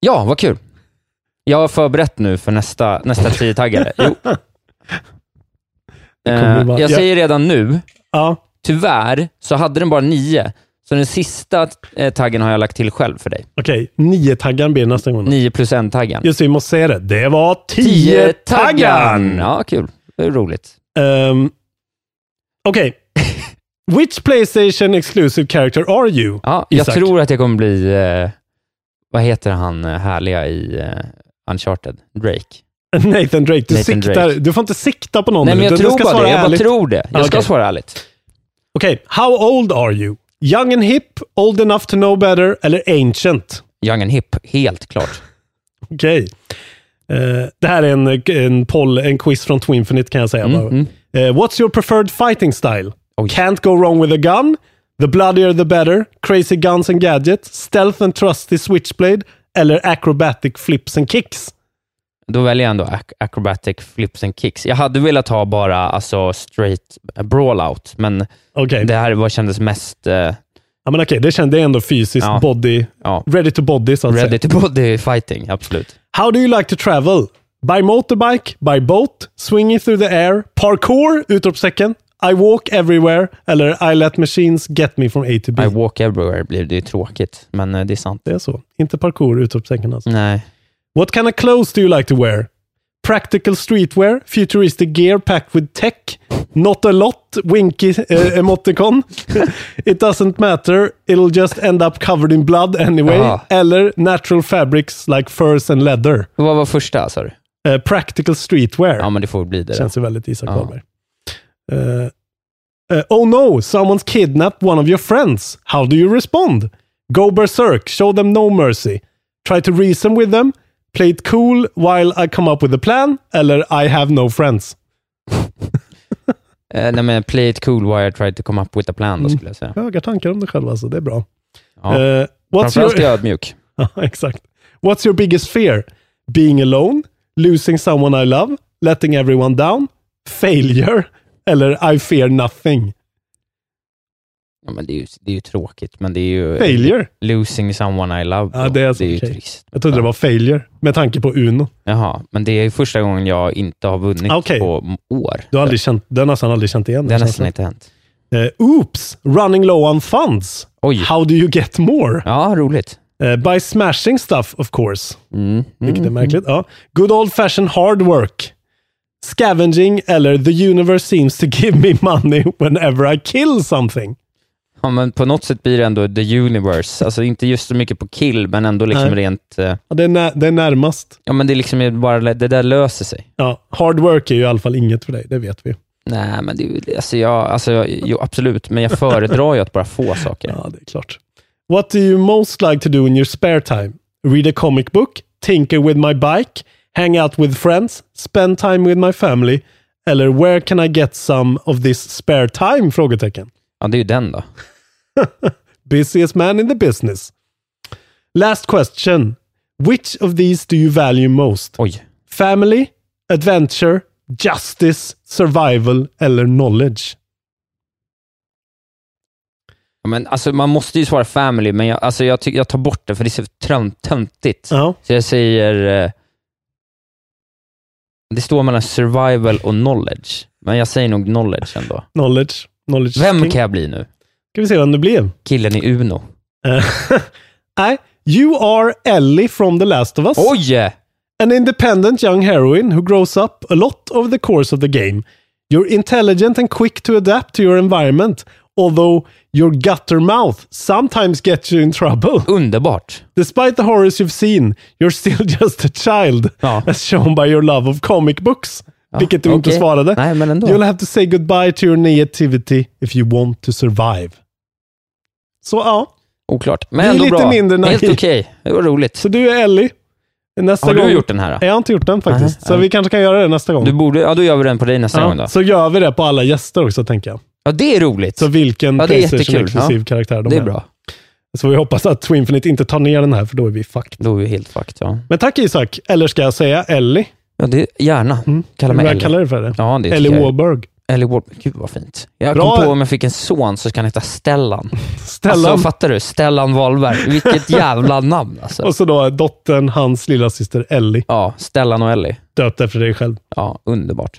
Ja, vad kul. Jag har förberett nu för nästa, nästa tiotaggare. Jo.
kommer
Eh,
bara-
jag
Ja.
säger redan nu,
Ja,
tyvärr så hade den bara nio, så den sista eh, taggen har jag lagt till själv för dig.
okej. Nio taggar blir det nästa gång.
Nio plus en-taggen.
Just det, vi måste säga det. Det var tio
Tio-taggan!
taggar!
Ja, kul. Det är roligt.
Ehm, Okej. Which Playstation exclusive character are you?
Ja, jag
Isak.
tror att jag kommer bli, eh, vad heter han eh, härliga i eh, Uncharted? Drake?
(laughs) Nathan Drake. Du,
Nathan
siktar,
Drake.
du får inte sikta på någon.
Nej, men jag
utan du
tror
ska
bara
svara
det. Jag bara
ärligt.
tror det. Jag ska
Okej.
svara ärligt.
Okej, how old are you? Young and hip, old enough to know better eller ancient?
Young and hip, helt klart.
Okej. Eh, det här är en, en, poll, en quiz från Twinfinite kan jag säga. bara. Eh, what's your preferred fighting style?
Mm, Oj.
Can't go wrong with a gun? The bloodier the better? Crazy guns and gadgets? Stealth and trusty switchblade? Eller acrobatic flips and kicks?
Då väljer jag ändå ac- acrobatic flips and kicks. Jag hade velat ha bara alltså, straight brawlout, men
Okej,
det här var, kändes mest eh,
ja, men okej, det kände jag ändå fysiskt.
Ja.
Body,
ja,
ready to body så att säga.
ready to body fighting, absolut.
How do you like to travel? By motorbike, by boat, swinging through the air, parkour, utropstecken, I walk everywhere eller I let machines get me from A to B.
I walk everywhere blir det ju tråkigt, men eh, det är sant.
Det är så. Inte parkour, utropstecken alltså.
Nej.
What kind of clothes do you like to wear? Practical streetwear, futuristic gear packed with tech, not a lot, winky eh, emoticon. (laughs) It doesn't matter, it'll just end up covered in blood anyway.
Jaha.
Eller natural fabrics like furs and leather.
Vad var första, sa du?
Eh, practical streetwear.
Ja, men det får bli det. då.
Känns ju väldigt Isak
Ja.
Wahlberg. Eh, eh, oh no, someone's kidnapped one of your friends. How do you respond? Go berserk, show them no mercy. Try to reason with them. Play it cool while I come up with a plan. Eller I have no friends.
Eh, nej, men play it cool while I try to come up with a plan, då skulle jag säga.
Höga tankar om dig själv alltså, det är bra.
Ja.
Mm. Eh, what's
Framförallt är
your...
jag ödmjuk.
(laughs) Ja, exakt. What's your biggest fear? Being alone? Losing someone I love? Letting everyone down? Failure? Eller I fear nothing?
Ja, men det, är ju, det är ju tråkigt, men det är ju...
Failure?
Losing someone I love.
Ja,
då.
det är alltså
ju
okej.
trist.
Jag trodde det var failure, med tanke på Uno.
Jaha, men det är första gången jag inte har vunnit
Ah, okej.
på m- år.
Du har, aldrig känt, du har nästan aldrig känt igen
det har nästan
känslan.
inte hänt.
Eh, oops! Running low on funds.
Oj.
How do you get more?
Ja, roligt.
Eh, by smashing stuff, of course.
Mm.
Vilket är märkligt. Ja. Good old fashioned hard work. Scavenging eller the universe seems to give me money whenever I kill something.
Ja, men på något sätt blir det ändå the universe. Alltså inte just så mycket på kill, men ändå liksom
Nej.
rent... eh,
Ja, det, är när, det är närmast.
Ja, men det är liksom bara, det där löser sig.
Ja, hard work är ju i alla fall inget för dig, det vet vi.
Nej, men det, är ju- alltså jag, alltså jag, jo,
(laughs)
absolut, men jag föredrar ju att bara få saker.
Ja, det är klart. What do you most like to do in your spare time? Read a comic book, tinker with my bike, hang out with friends, spend time with my family, eller where can I get some of this spare time? Frågetecken.
Ja, det är ju den då.
Busiest man in the business. Last question. Which of these do you value most?
Oj.
Family, adventure, justice, survival eller knowledge?
Ja, Men, alltså, man måste ju svara family, men jag, alltså, jag, tycker- jag tar bort det för det är så tröm- töntigt.
Ja,
Så jag säger... Eh, det står mellan survival och knowledge, men jag säger nog knowledge ändå.
knowledge. knowledge is
Vem
king.
kan jag bli nu?
Ska vi se vem det blev?
Killen i Uno.
Eh, (laughs) Nej, you are Ellie from The Last of Us.
Oj!
An independent young heroine who grows up a lot over the course of the game. You're intelligent and quick to adapt to your environment, although your gutter mouth sometimes gets you in trouble.
Underbart.
Despite the horrors you've seen, you're still (laughs) just a child,
Ja.
as shown by your love of comic books. vilket du inte
okej.
svarade.
Nej, men ändå.
You'll have to say goodbye to your negativity if you want to survive. Så ja.
Oklart.
Det
Men
är
ändå
lite
bra.
mindre naiv.
Helt okej. Det var roligt.
Så du är Ellie. Nästa
Har du
gång...
gjort den här då?
Nej, Jag har inte gjort den faktiskt.
Nej,
så
nej.
vi kanske kan göra det nästa gång.
Du borde, ja, då gör vi den på dig nästa
Ja,
gång då.
Så gör vi det på alla gäster också, tänker jag.
Ja, det är roligt.
Så vilken
Ja, det är jättekul.
Playstation-exklusiv
Ja.
karaktär de
det är bra.
Så vi hoppas att Twinfinite inte tar ner den här, för då är vi fucked.
Då är vi helt fucked, ja.
Men tack Isak, eller ska jag säga Ellie?
ja det, gärna. Kalla
Vad
mig
jag
Ellie.
Mm. kallar dig för det?
Ja, det
Ellie
tycker jag.
Warburg.
Ellie Warburg. Gud vad fint. Jag
Bra.
kom på om jag fick en son så ska han heta Stellan.
Stellan.
Alltså, fattar du? Stellan Wahlberg.
(laughs)
Vilket jävla namn alltså.
Och så då dottern, hans lilla syster Ellie,
Ja, Stellan och Ellie.
döpt efter dig själv.
Ja, underbart.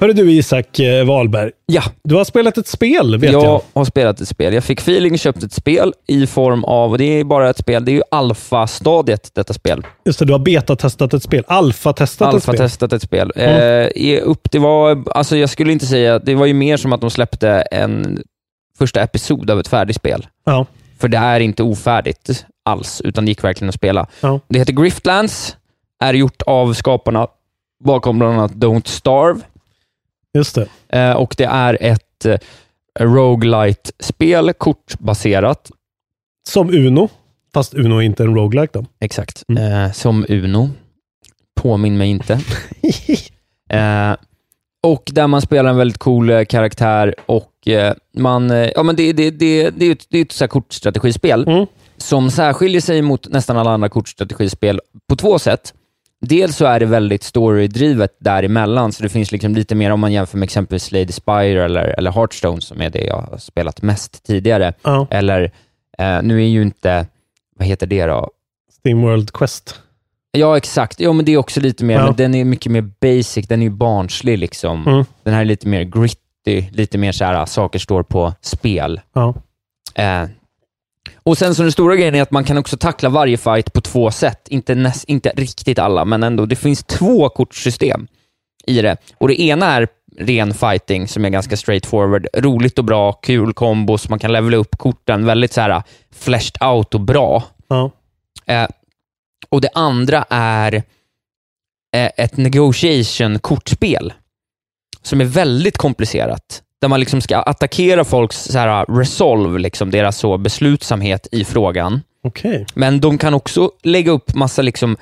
Hörru du Isak eh, Wahlberg,
Ja,
du har spelat ett spel vet
jag,
jag.
har spelat ett spel. Jag fick feeling, köpt ett spel i form av, och det är bara ett spel, det är ju alfa-stadiet detta spel.
Just det, du har betatestat ett spel. Alfa-testat ett spel. Mm.
Alfa-testat ett spel. Eh, i upp, det var, alltså jag skulle inte säga, det var ju mer som att de släppte en första episod av ett färdigt spel.
Ja.
För det är inte ofärdigt alls, utan det gick verkligen att spela.
Ja.
Det heter Griftlands, är gjort av skaparna bakom bland annat Don't Starve,
Just det.
Eh, och det är ett eh, roguelite-spel, kortbaserat.
Som Uno, fast Uno är inte en roguelike då.
Exakt. Eh, som Uno. Påminn mig inte. eh, och där man spelar en väldigt cool eh, karaktär och eh, man... Eh, ja, men det, det, det, det är ju ett, det är ju ett så här kortstrategispel
Mm.
som särskiljer sig mot nästan alla andra kortstrategispel på två sätt. Dels så är det väldigt storydrivet däremellan, så det finns liksom lite mer om man jämför med exempelvis Lady Spire eller, eller Hearthstone som är det jag har spelat mest tidigare.
Ja.
Eller, eh, nu är ju inte, vad heter det då?
Steamworld Quest.
Ja, exakt. Ja, men det är också lite mer,
Ja.
men den är mycket mer basic, den är ju barnslig liksom.
Mm.
Den här är lite mer gritty, lite mer så här, äh, saker står på spel.
Ja.
Eh. Och sen så den stora grejen är att man kan också tackla varje fight på två sätt. Inte, näs, inte riktigt alla, men ändå. Det finns två kortsystem i det. Och det ena är ren fighting som är ganska straightforward. Roligt och bra, kul kombos, man kan levela upp korten. Väldigt så här äh, fleshed out och bra.
Ja.
Eh, och det andra är eh, ett negotiation-kortspel som är väldigt komplicerat. Där man liksom ska attackera folks så här, resolve, liksom, deras så beslutsamhet i frågan.
Okej.
Men de kan också lägga upp massa liksom,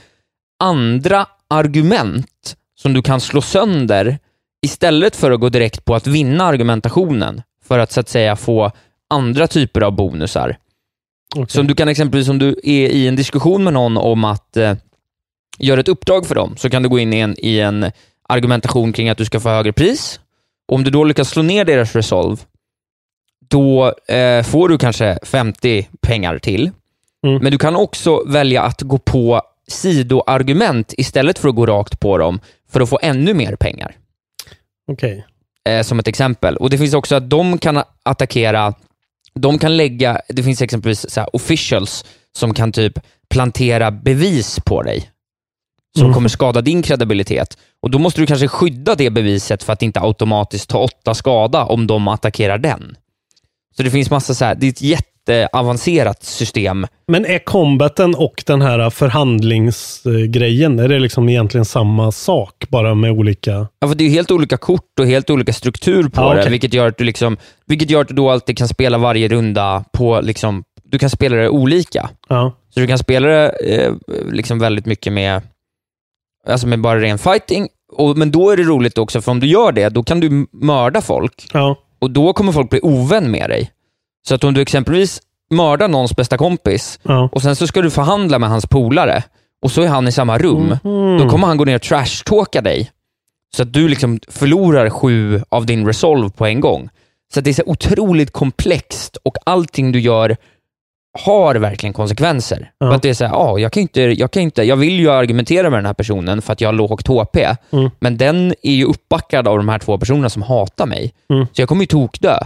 andra argument som du kan slå sönder istället för att gå direkt på att vinna argumentationen för att så att säga få andra typer av bonusar.
okej.
Så om du kan exempelvis om du är i en diskussion med någon om att eh, göra ett uppdrag för dem, så kan du gå in i en, i en argumentation kring att du ska få högre pris. Och om du då lyckas slå ner deras resolve, då eh, får du kanske 50 pengar till.
Mm.
Men du kan också välja att gå på sidoargument istället för att gå rakt på dem för att få ännu mer pengar
Okej.
eh, som ett exempel. Och Det finns också att de kan attackera, de kan lägga, det finns exempelvis så här officials som kan typ plantera bevis på dig som
Mm.
kommer skada din kredibilitet. Och Då måste du kanske skydda det beviset för att inte automatiskt ta åtta skada om de attackerar den. Så det finns massa så här, det är ett jätteavancerat system.
Men är combaten och den här förhandlingsgrejen, är det liksom egentligen samma sak, bara med olika...
Ja, för det är ju helt olika kort och helt olika struktur på
Ja,
det,
okej.
vilket gör, att du liksom, vilket gör att du då alltid kan spela varje runda på, liksom, du kan spela det olika.
Ja.
Så du kan spela det eh, liksom väldigt mycket med, alltså med bara ren fighting, och, men då är det roligt också, för om du gör det, då kan du m- mörda folk
Ja.
och då kommer folk bli ovän med dig. Så att om du exempelvis mördar någons bästa kompis
Ja.
och sen så ska du förhandla med hans polare och så är han i samma rum,
Mhm.
då kommer han gå ner och trashtalka dig. Så att du liksom förlorar sju av din resolve på en gång. Så att det är så otroligt komplext och allting du gör har verkligen konsekvenser.
Ja.
För att det är så här, ah, jag, kan ju inte, jag, kan ju inte, jag vill ju argumentera med den här personen för att jag har lågt HP,
Mm.
men den är ju uppbackad av de här två personerna som hatar mig.
Mm.
Så jag kommer ju tokdö.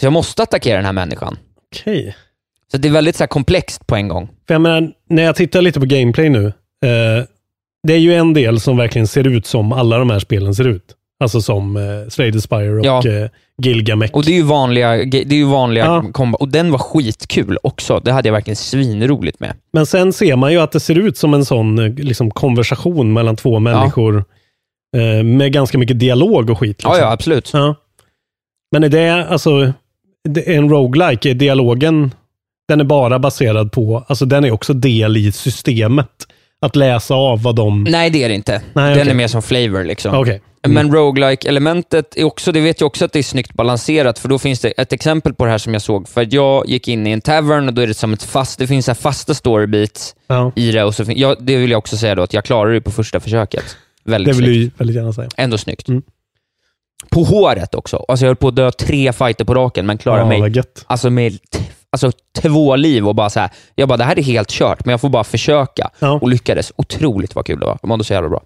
Så jag måste attackera den här människan.
Okej.
Så det är väldigt så här komplext på en gång.
För jag menar, när jag tittar lite på gameplay nu, eh, det är ju en del som verkligen ser ut som alla de här spelen ser ut. Alltså som eh, Slade Spire och
Ja.
eh, Gilgamesh.
Och det är ju vanliga, det är ju vanliga
Ja.
kombo. Och den var skitkul också. Det hade jag verkligen svinroligt med.
Men sen ser man ju att det ser ut som en sån eh, liksom, konversation mellan två människor. Eh, Med ganska mycket dialog och skit. liksom.
Ja, ja, absolut.
Alltså. Ja. Men är det, alltså, det är en roguelike, är dialogen, den är bara baserad på, alltså den är också del i systemet. Att läsa av vad de...
Nej, det är det inte.
Nej,
Den
okej.
är mer som flavor liksom.
Okej. Mm.
Men roguelike elementet är också, det vet jag också att det är snyggt balanserat, för då finns det ett exempel på det här som jag såg, för att jag gick in i en tavern och då är det som ett fast, det finns så här fasta storybeats
Ja.
i det och så fin- ja, det vill jag också säga då, att jag klarade det på första försöket.
Det
Väldigt
vill
snyggt.
du väldigt gärna säga.
Ändå snyggt. På håret också. Alltså jag höll på att dö tre fighter på raken, men klarade
Ja,
mig
vad gött.
alltså med t- alltså, två liv och bara så här. Jag bara, det här är helt kört, men jag får bara försöka. Och lyckades. Otroligt vad kul det var. De mådde så jävla bra.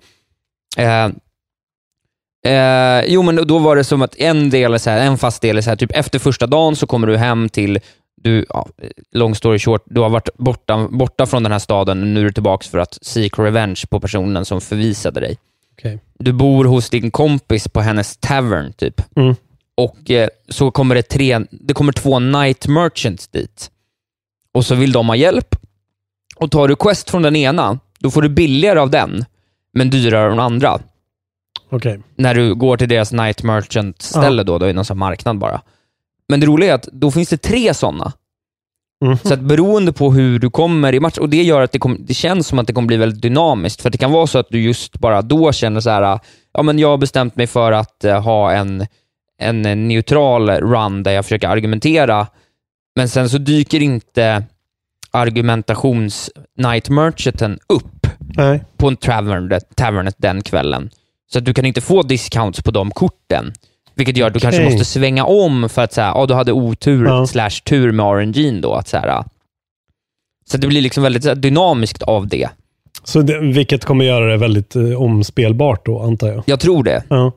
Eh, Eh, jo, men då var det som att en del är så här, en fast del är så här, typ efter första dagen så kommer du hem till, du, ja, long story short, du har varit borta, borta från den här staden och nu är du tillbaka för att seek revenge på personen som förvisade dig.
Okej.
Du bor hos din kompis på hennes tavern, typ.
Mm.
Och eh, så kommer det, tre, det kommer två night merchants dit. Och så vill de ha hjälp. Och tar du quest från den ena, då får du billigare av den, men dyrare av den andra
Okej.
när du går till deras night merchant-ställe då, då är det någon sån här marknad bara. Men det roliga är att då finns det tre sådana. Så att beroende på hur du kommer i match, och det gör att det, kom, det känns som att det kommer bli väldigt dynamiskt, för att det kan vara så att du just bara då känner så här, ja men jag har bestämt mig för att eh, ha en, en eh, neutral run där jag försöker argumentera, men sen så dyker inte argumentations-night merchanten upp
Nej.
på en tavern, tavernet den kvällen. Så att du kan inte få discounts på de korten. Vilket gör att du kanske
Okej.
måste svänga om för att säga, ja du hade otur
Ja.
slash tur med RNG'n då. Att så, här, så att det blir liksom väldigt så här, dynamiskt av det.
Så det, vilket kommer göra det väldigt eh, omspelbart då, antar jag.
Jag tror det.
Ja.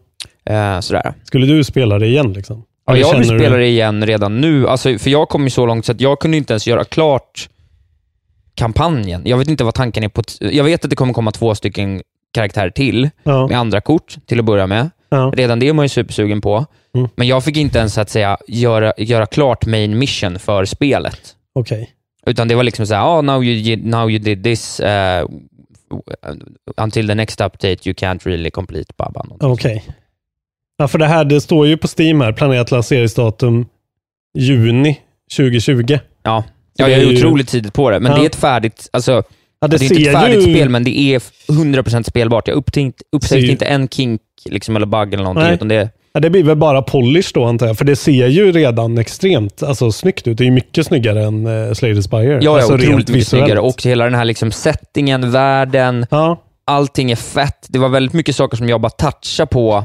Eh, sådär.
Skulle du spela det igen? Liksom?
Ja,
Eller
jag vill
känner du-
spela det igen redan nu, alltså, för jag kom ju så långt så att jag kunde inte ens göra klart kampanjen. Jag vet inte vad tanken är på... t- Jag vet att det kommer komma två stycken karaktärer till
Ja.
med andra kort till att börja med.
Ja.
Redan det är man ju supersugen på.
Mm.
Men jag fick inte ens att säga göra, göra klart main mission för spelet.
Okej.
Utan det var liksom såhär, ah now, you, now you did this, eh, until the next update you can't really complete, babban.
Okej. Ja, för det här, det står ju på Steam här, planerat lanseringsdatum juni 2020.
Ja,
Så
ja
det
jag
är
är
ju-
otroligt tidigt på det, men
Ja.
det är ett färdigt... Alltså,
Ja, det
det, är inte
ser
ett färdigt
ju-
spel, men det är 100% spelbart. Jag upptäckte,
Ser
upptäckte
ju-
inte en kink liksom, eller bugg eller någonting,
Nej.
utan det...
Ja, det blir väl bara polish då antar jag, för det ser ju redan extremt alltså, snyggt ut. Det är ju mycket snyggare än uh, Slay the Spire.
Ja,
alltså,
ja otroligt
rent
mycket
visuellt.
snyggare. Och hela den här liksom settingen, världen, allting är fett. Det var väldigt mycket saker som jag bara touchade på.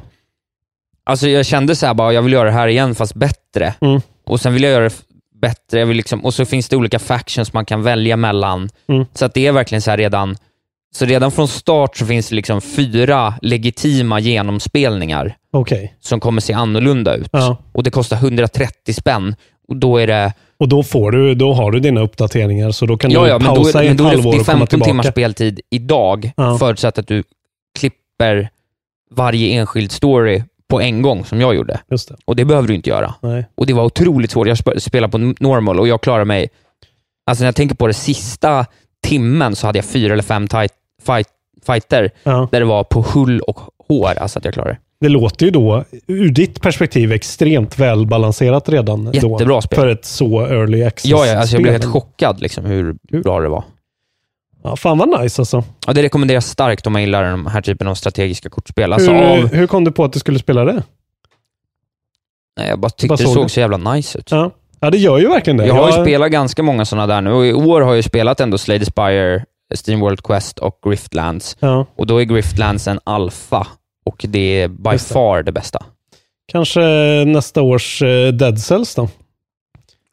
Alltså jag kände så här bara, jag vill göra det här igen fast bättre.
Mm.
Och sen vill jag göra det f- bättre. Jag vill liksom, och så finns det olika factions man kan välja mellan.
Mm.
Så att det är verkligen så här redan, så redan från start så finns det liksom fyra legitima genomspelningar
Okej.
som kommer se annorlunda ut.
Ja.
Och det kostar 130 spänn. Och då är det
Och då, får du, då har du dina uppdateringar, så då kan du
men då är-
pausa i
men
ett
då är det-
halvår och komma
Det är 15 timmars
tillbaka.
speltid idag,
Ja.
förutsatt att du klipper varje enskild story på en gång, som jag gjorde.
Just det.
Och det behöver du inte göra.
Nej.
Och det var otroligt svårt. Jag sp- spelade på n- normal och jag klarade mig... Alltså när jag tänker på det sista timmen så hade jag fyra eller fem tight, fight, fighter
Ja.
där det var på hull och hår, alltså att jag klarade det.
Det låter ju då, ur ditt perspektiv, extremt välbalanserat redan. då,
Jättebra spel.
För ett så early access-spel.
Ja, ja, alltså jag blev helt chockad liksom, hur bra det var.
Ja, fan vad nice alltså.
Ja, det rekommenderas starkt om man gillar den här typen av strategiska kortspel. Alltså
hur,
av
hur kom du på att du skulle spela det?
Nej, jag bara tyckte
Vad
det
såg
såg
du?
så jävla nice ut.
Ja, ja det gör ju verkligen det.
Jag har ju spelat ganska många sådana där nu och i år har jag ju spelat ändå Slay the Spire, Steam World Quest och Griftlands.
Ja.
Och då är Griftlands en alfa och det är by
Just det.
far det bästa.
Kanske nästa års eh, Dead Cells då?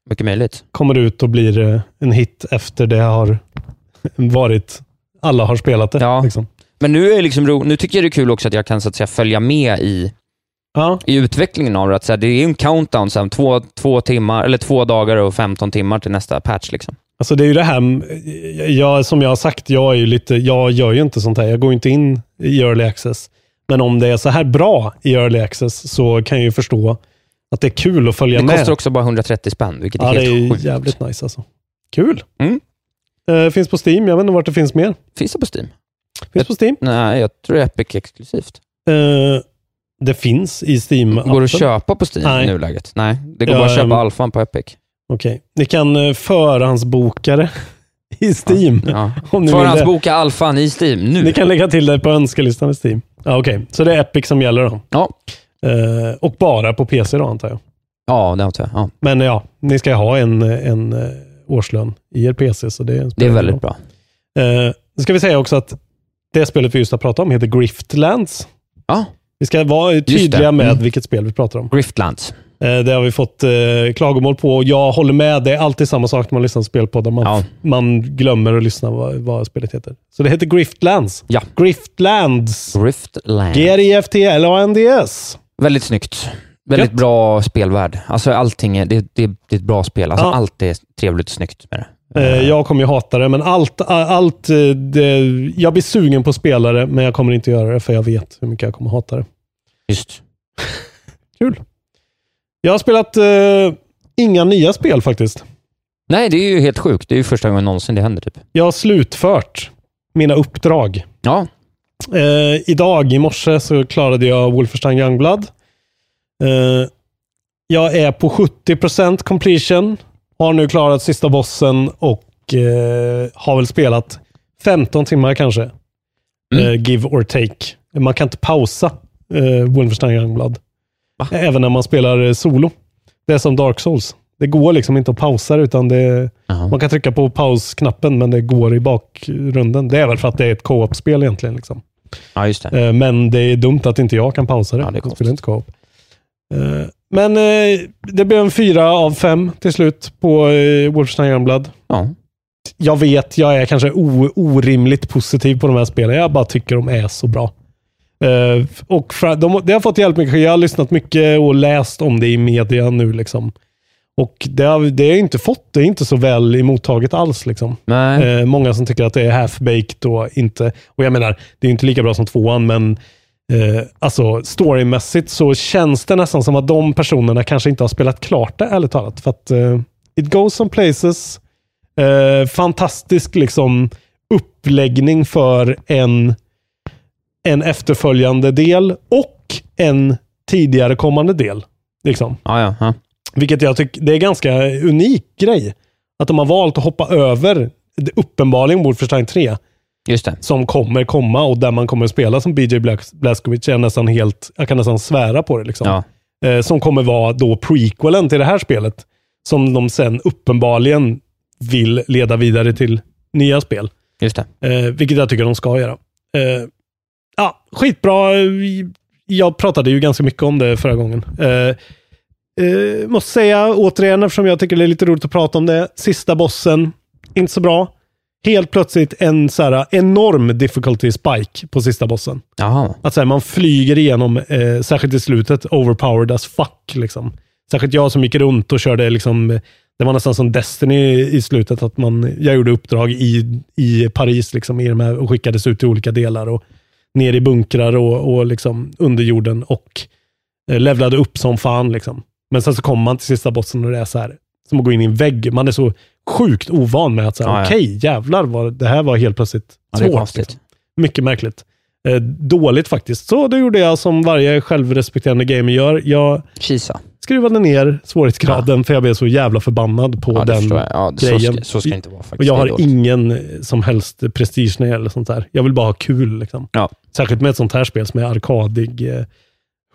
Mycket möjligt.
Kommer ut och blir eh, en hit efter det har varit, alla har spelat det.
Ja.
Liksom.
Men nu, är det liksom, ro- nu tycker jag det är kul också att jag kan så att säga, följa med i, i utvecklingen av det. Att, så här, det är ju en countdown sen, två, två, timmar, eller två dagar och 15 timmar till nästa patch. Liksom.
Alltså det är ju det här, jag, som jag har sagt, jag, är ju lite, jag gör ju inte sånt här. Jag går ju inte in i early access. Men om det är så här bra i early access så kan jag ju förstå att det är kul att följa
Det
med.
kostar också bara 130 spänn, vilket är
ja, det
helt
är
sjukt.
jävligt nice alltså. Kul!
Mm.
Eh, finns på Steam, jag vet inte vart det finns mer.
Finns det på Steam?
Finns på Steam.
Nej, jag tror det är Epic exklusivt.
Eh, det finns i steam
Går det att köpa på Steam i nuläget? Nej, det går bara att köpa alfan på Epic.
(laughs) Okej. Ni kan eh, förhandsboka det (laughs) i Steam. om ni vill det.
Förhandsboka alfan i Steam nu.
Ni kan lägga till det på önskelistan i Steam. Ja, Okej, så det är Epic som gäller då?
Ja.
Eh, och bara på PC då, antar jag?
Ja, det antar jag. Ja.
Men ja, ni ska ha en, en eh, årslön i er PC, så det är en
Det är
spelare
väldigt
då.
bra.
Eh, nu ska vi säga också att det spelet vi just har pratat om heter Griftlands.
Ja.
Vi ska vara
det.
tydliga
Mm.
med vilket spel vi pratar om.
Griftlands.
Eh, Det har vi fått eh, klagomål på och jag håller med. Det är alltid samma sak när man lyssnar på spelpoddar. Man, man glömmer att lyssna vad, vad spelet heter. Så det heter Griftlands.
Ja.
Griftlands.
Griftlands.
G-R-I-F-T-L-A-N-D-S.
Väldigt snyggt. Väldigt bra spelvärld. Alltså allting, är, det, det, det är ett bra spel. Alltså
Ja.
allt är trevligt och snyggt med det.
Eh, Jag kommer ju hata det, men allt, a- allt eh, det, jag blir sugen på att spela det, men jag kommer inte göra det, för jag vet hur mycket jag kommer hata det.
Just.
Kul. Jag har spelat eh, inga nya spel faktiskt.
Nej, det är ju helt sjukt. Det är ju första gången någonsin det händer typ.
Jag har slutfört mina uppdrag.
Ja.
Eh, idag, i morse, så klarade jag Wolfenstein Youngblood. Eh, jag är på 70% completion. Har nu klarat sista bossen och eh, har väl spelat 15 timmar kanske. Eh, give or take. Man kan inte pausa eh, Wolfenstein Youngblood. Även när man spelar eh, solo. Det är som Dark Souls. Det går liksom inte att pausa det, utan det, man kan trycka på pausknappen men det går i bakgrunden. Det är väl för att det är ett co-op-spel egentligen. Liksom.
Ja, just det.
Eh, Men det är dumt att inte jag kan pausa det. det spelar inte co-op. Eh, Men eh, det blev en fyra av fem till slut på eh, Wolfenstein Youngblood.
Ja.
Jag vet, jag är kanske o- orimligt positiv på de här spelen. Jag bara tycker de är så bra. Eh, Och fra- de, det har fått hjälp mycket. Jag har lyssnat mycket och läst om det i media nu. Liksom. Och det har, det har jag inte fått. Det är inte så väl emottaget alls. Liksom. Eh, många som tycker att det är half-baked och inte... Och jag menar, det är ju inte lika bra som tvåan, men eh, alltså storymässigt så känns det nästan som att de personerna kanske inte har spelat klart det, ärligt talat. För att eh, it goes some places. Eh, fantastisk liksom uppläggning för en, en efterföljande del och en tidigare kommande del. Liksom.
Ja, ja, ja.
Vilket jag tycker det är ganska unik grej. Att de har valt att hoppa över, det uppenbarligen Wolfenstein 3,
Just det.
som kommer komma och där man kommer spela som BJ Blaz- Blazkowicz. Jag, är nästan helt, jag kan nästan svära på det. Liksom. Eh, som kommer vara då prequelen till det här spelet. Som de sen uppenbarligen vill leda vidare till nya spel.
Just det.
Eh, vilket jag tycker de ska göra. Eh, ja, skitbra. Jag pratade ju ganska mycket om det förra gången. Eh, eh, måste säga återigen, eftersom jag tycker det är lite roligt att prata om det. Sista bossen, inte så bra. Helt plötsligt en så här, enorm difficulty spike på sista bossen.
Jaha.
Att så här, man flyger igenom, eh, särskilt i slutet, overpowered as fuck. Liksom. Särskilt jag som gick runt och körde, liksom, eh, det var nästan som Destiny i slutet, att man, jag gjorde uppdrag i, i Paris liksom, i de här, och skickades ut till olika delar och ner i bunkrar och, och liksom, under jorden och eh, levlade upp som fan. Liksom. Men sen så kommer man till sista bossen och det är så här, som att gå in i en vägg. Man är så sjukt ovan med att, så här,
Ja, ja.
okej, jävlar, vad, det här var helt plötsligt
Ja, det är
svårt.
konstigt.
liksom. Mycket märkligt. Eh, dåligt faktiskt. Så då gjorde jag som varje självrespekterande gamer gör. Jag
Kisa.
skruvade ner svårighetsgraden för jag blev så jävla förbannad på
Ja, det
den
förstår jag. Ja, så
grejen.
ska- så ska det inte vara faktiskt.
Och jag
Det är
har
dåligt.
ingen eh, som helst prestige när det gäller sånt här. Jag vill bara ha kul. Liksom.
Ja.
Särskilt med ett sånt här spel som är arkadig. Eh,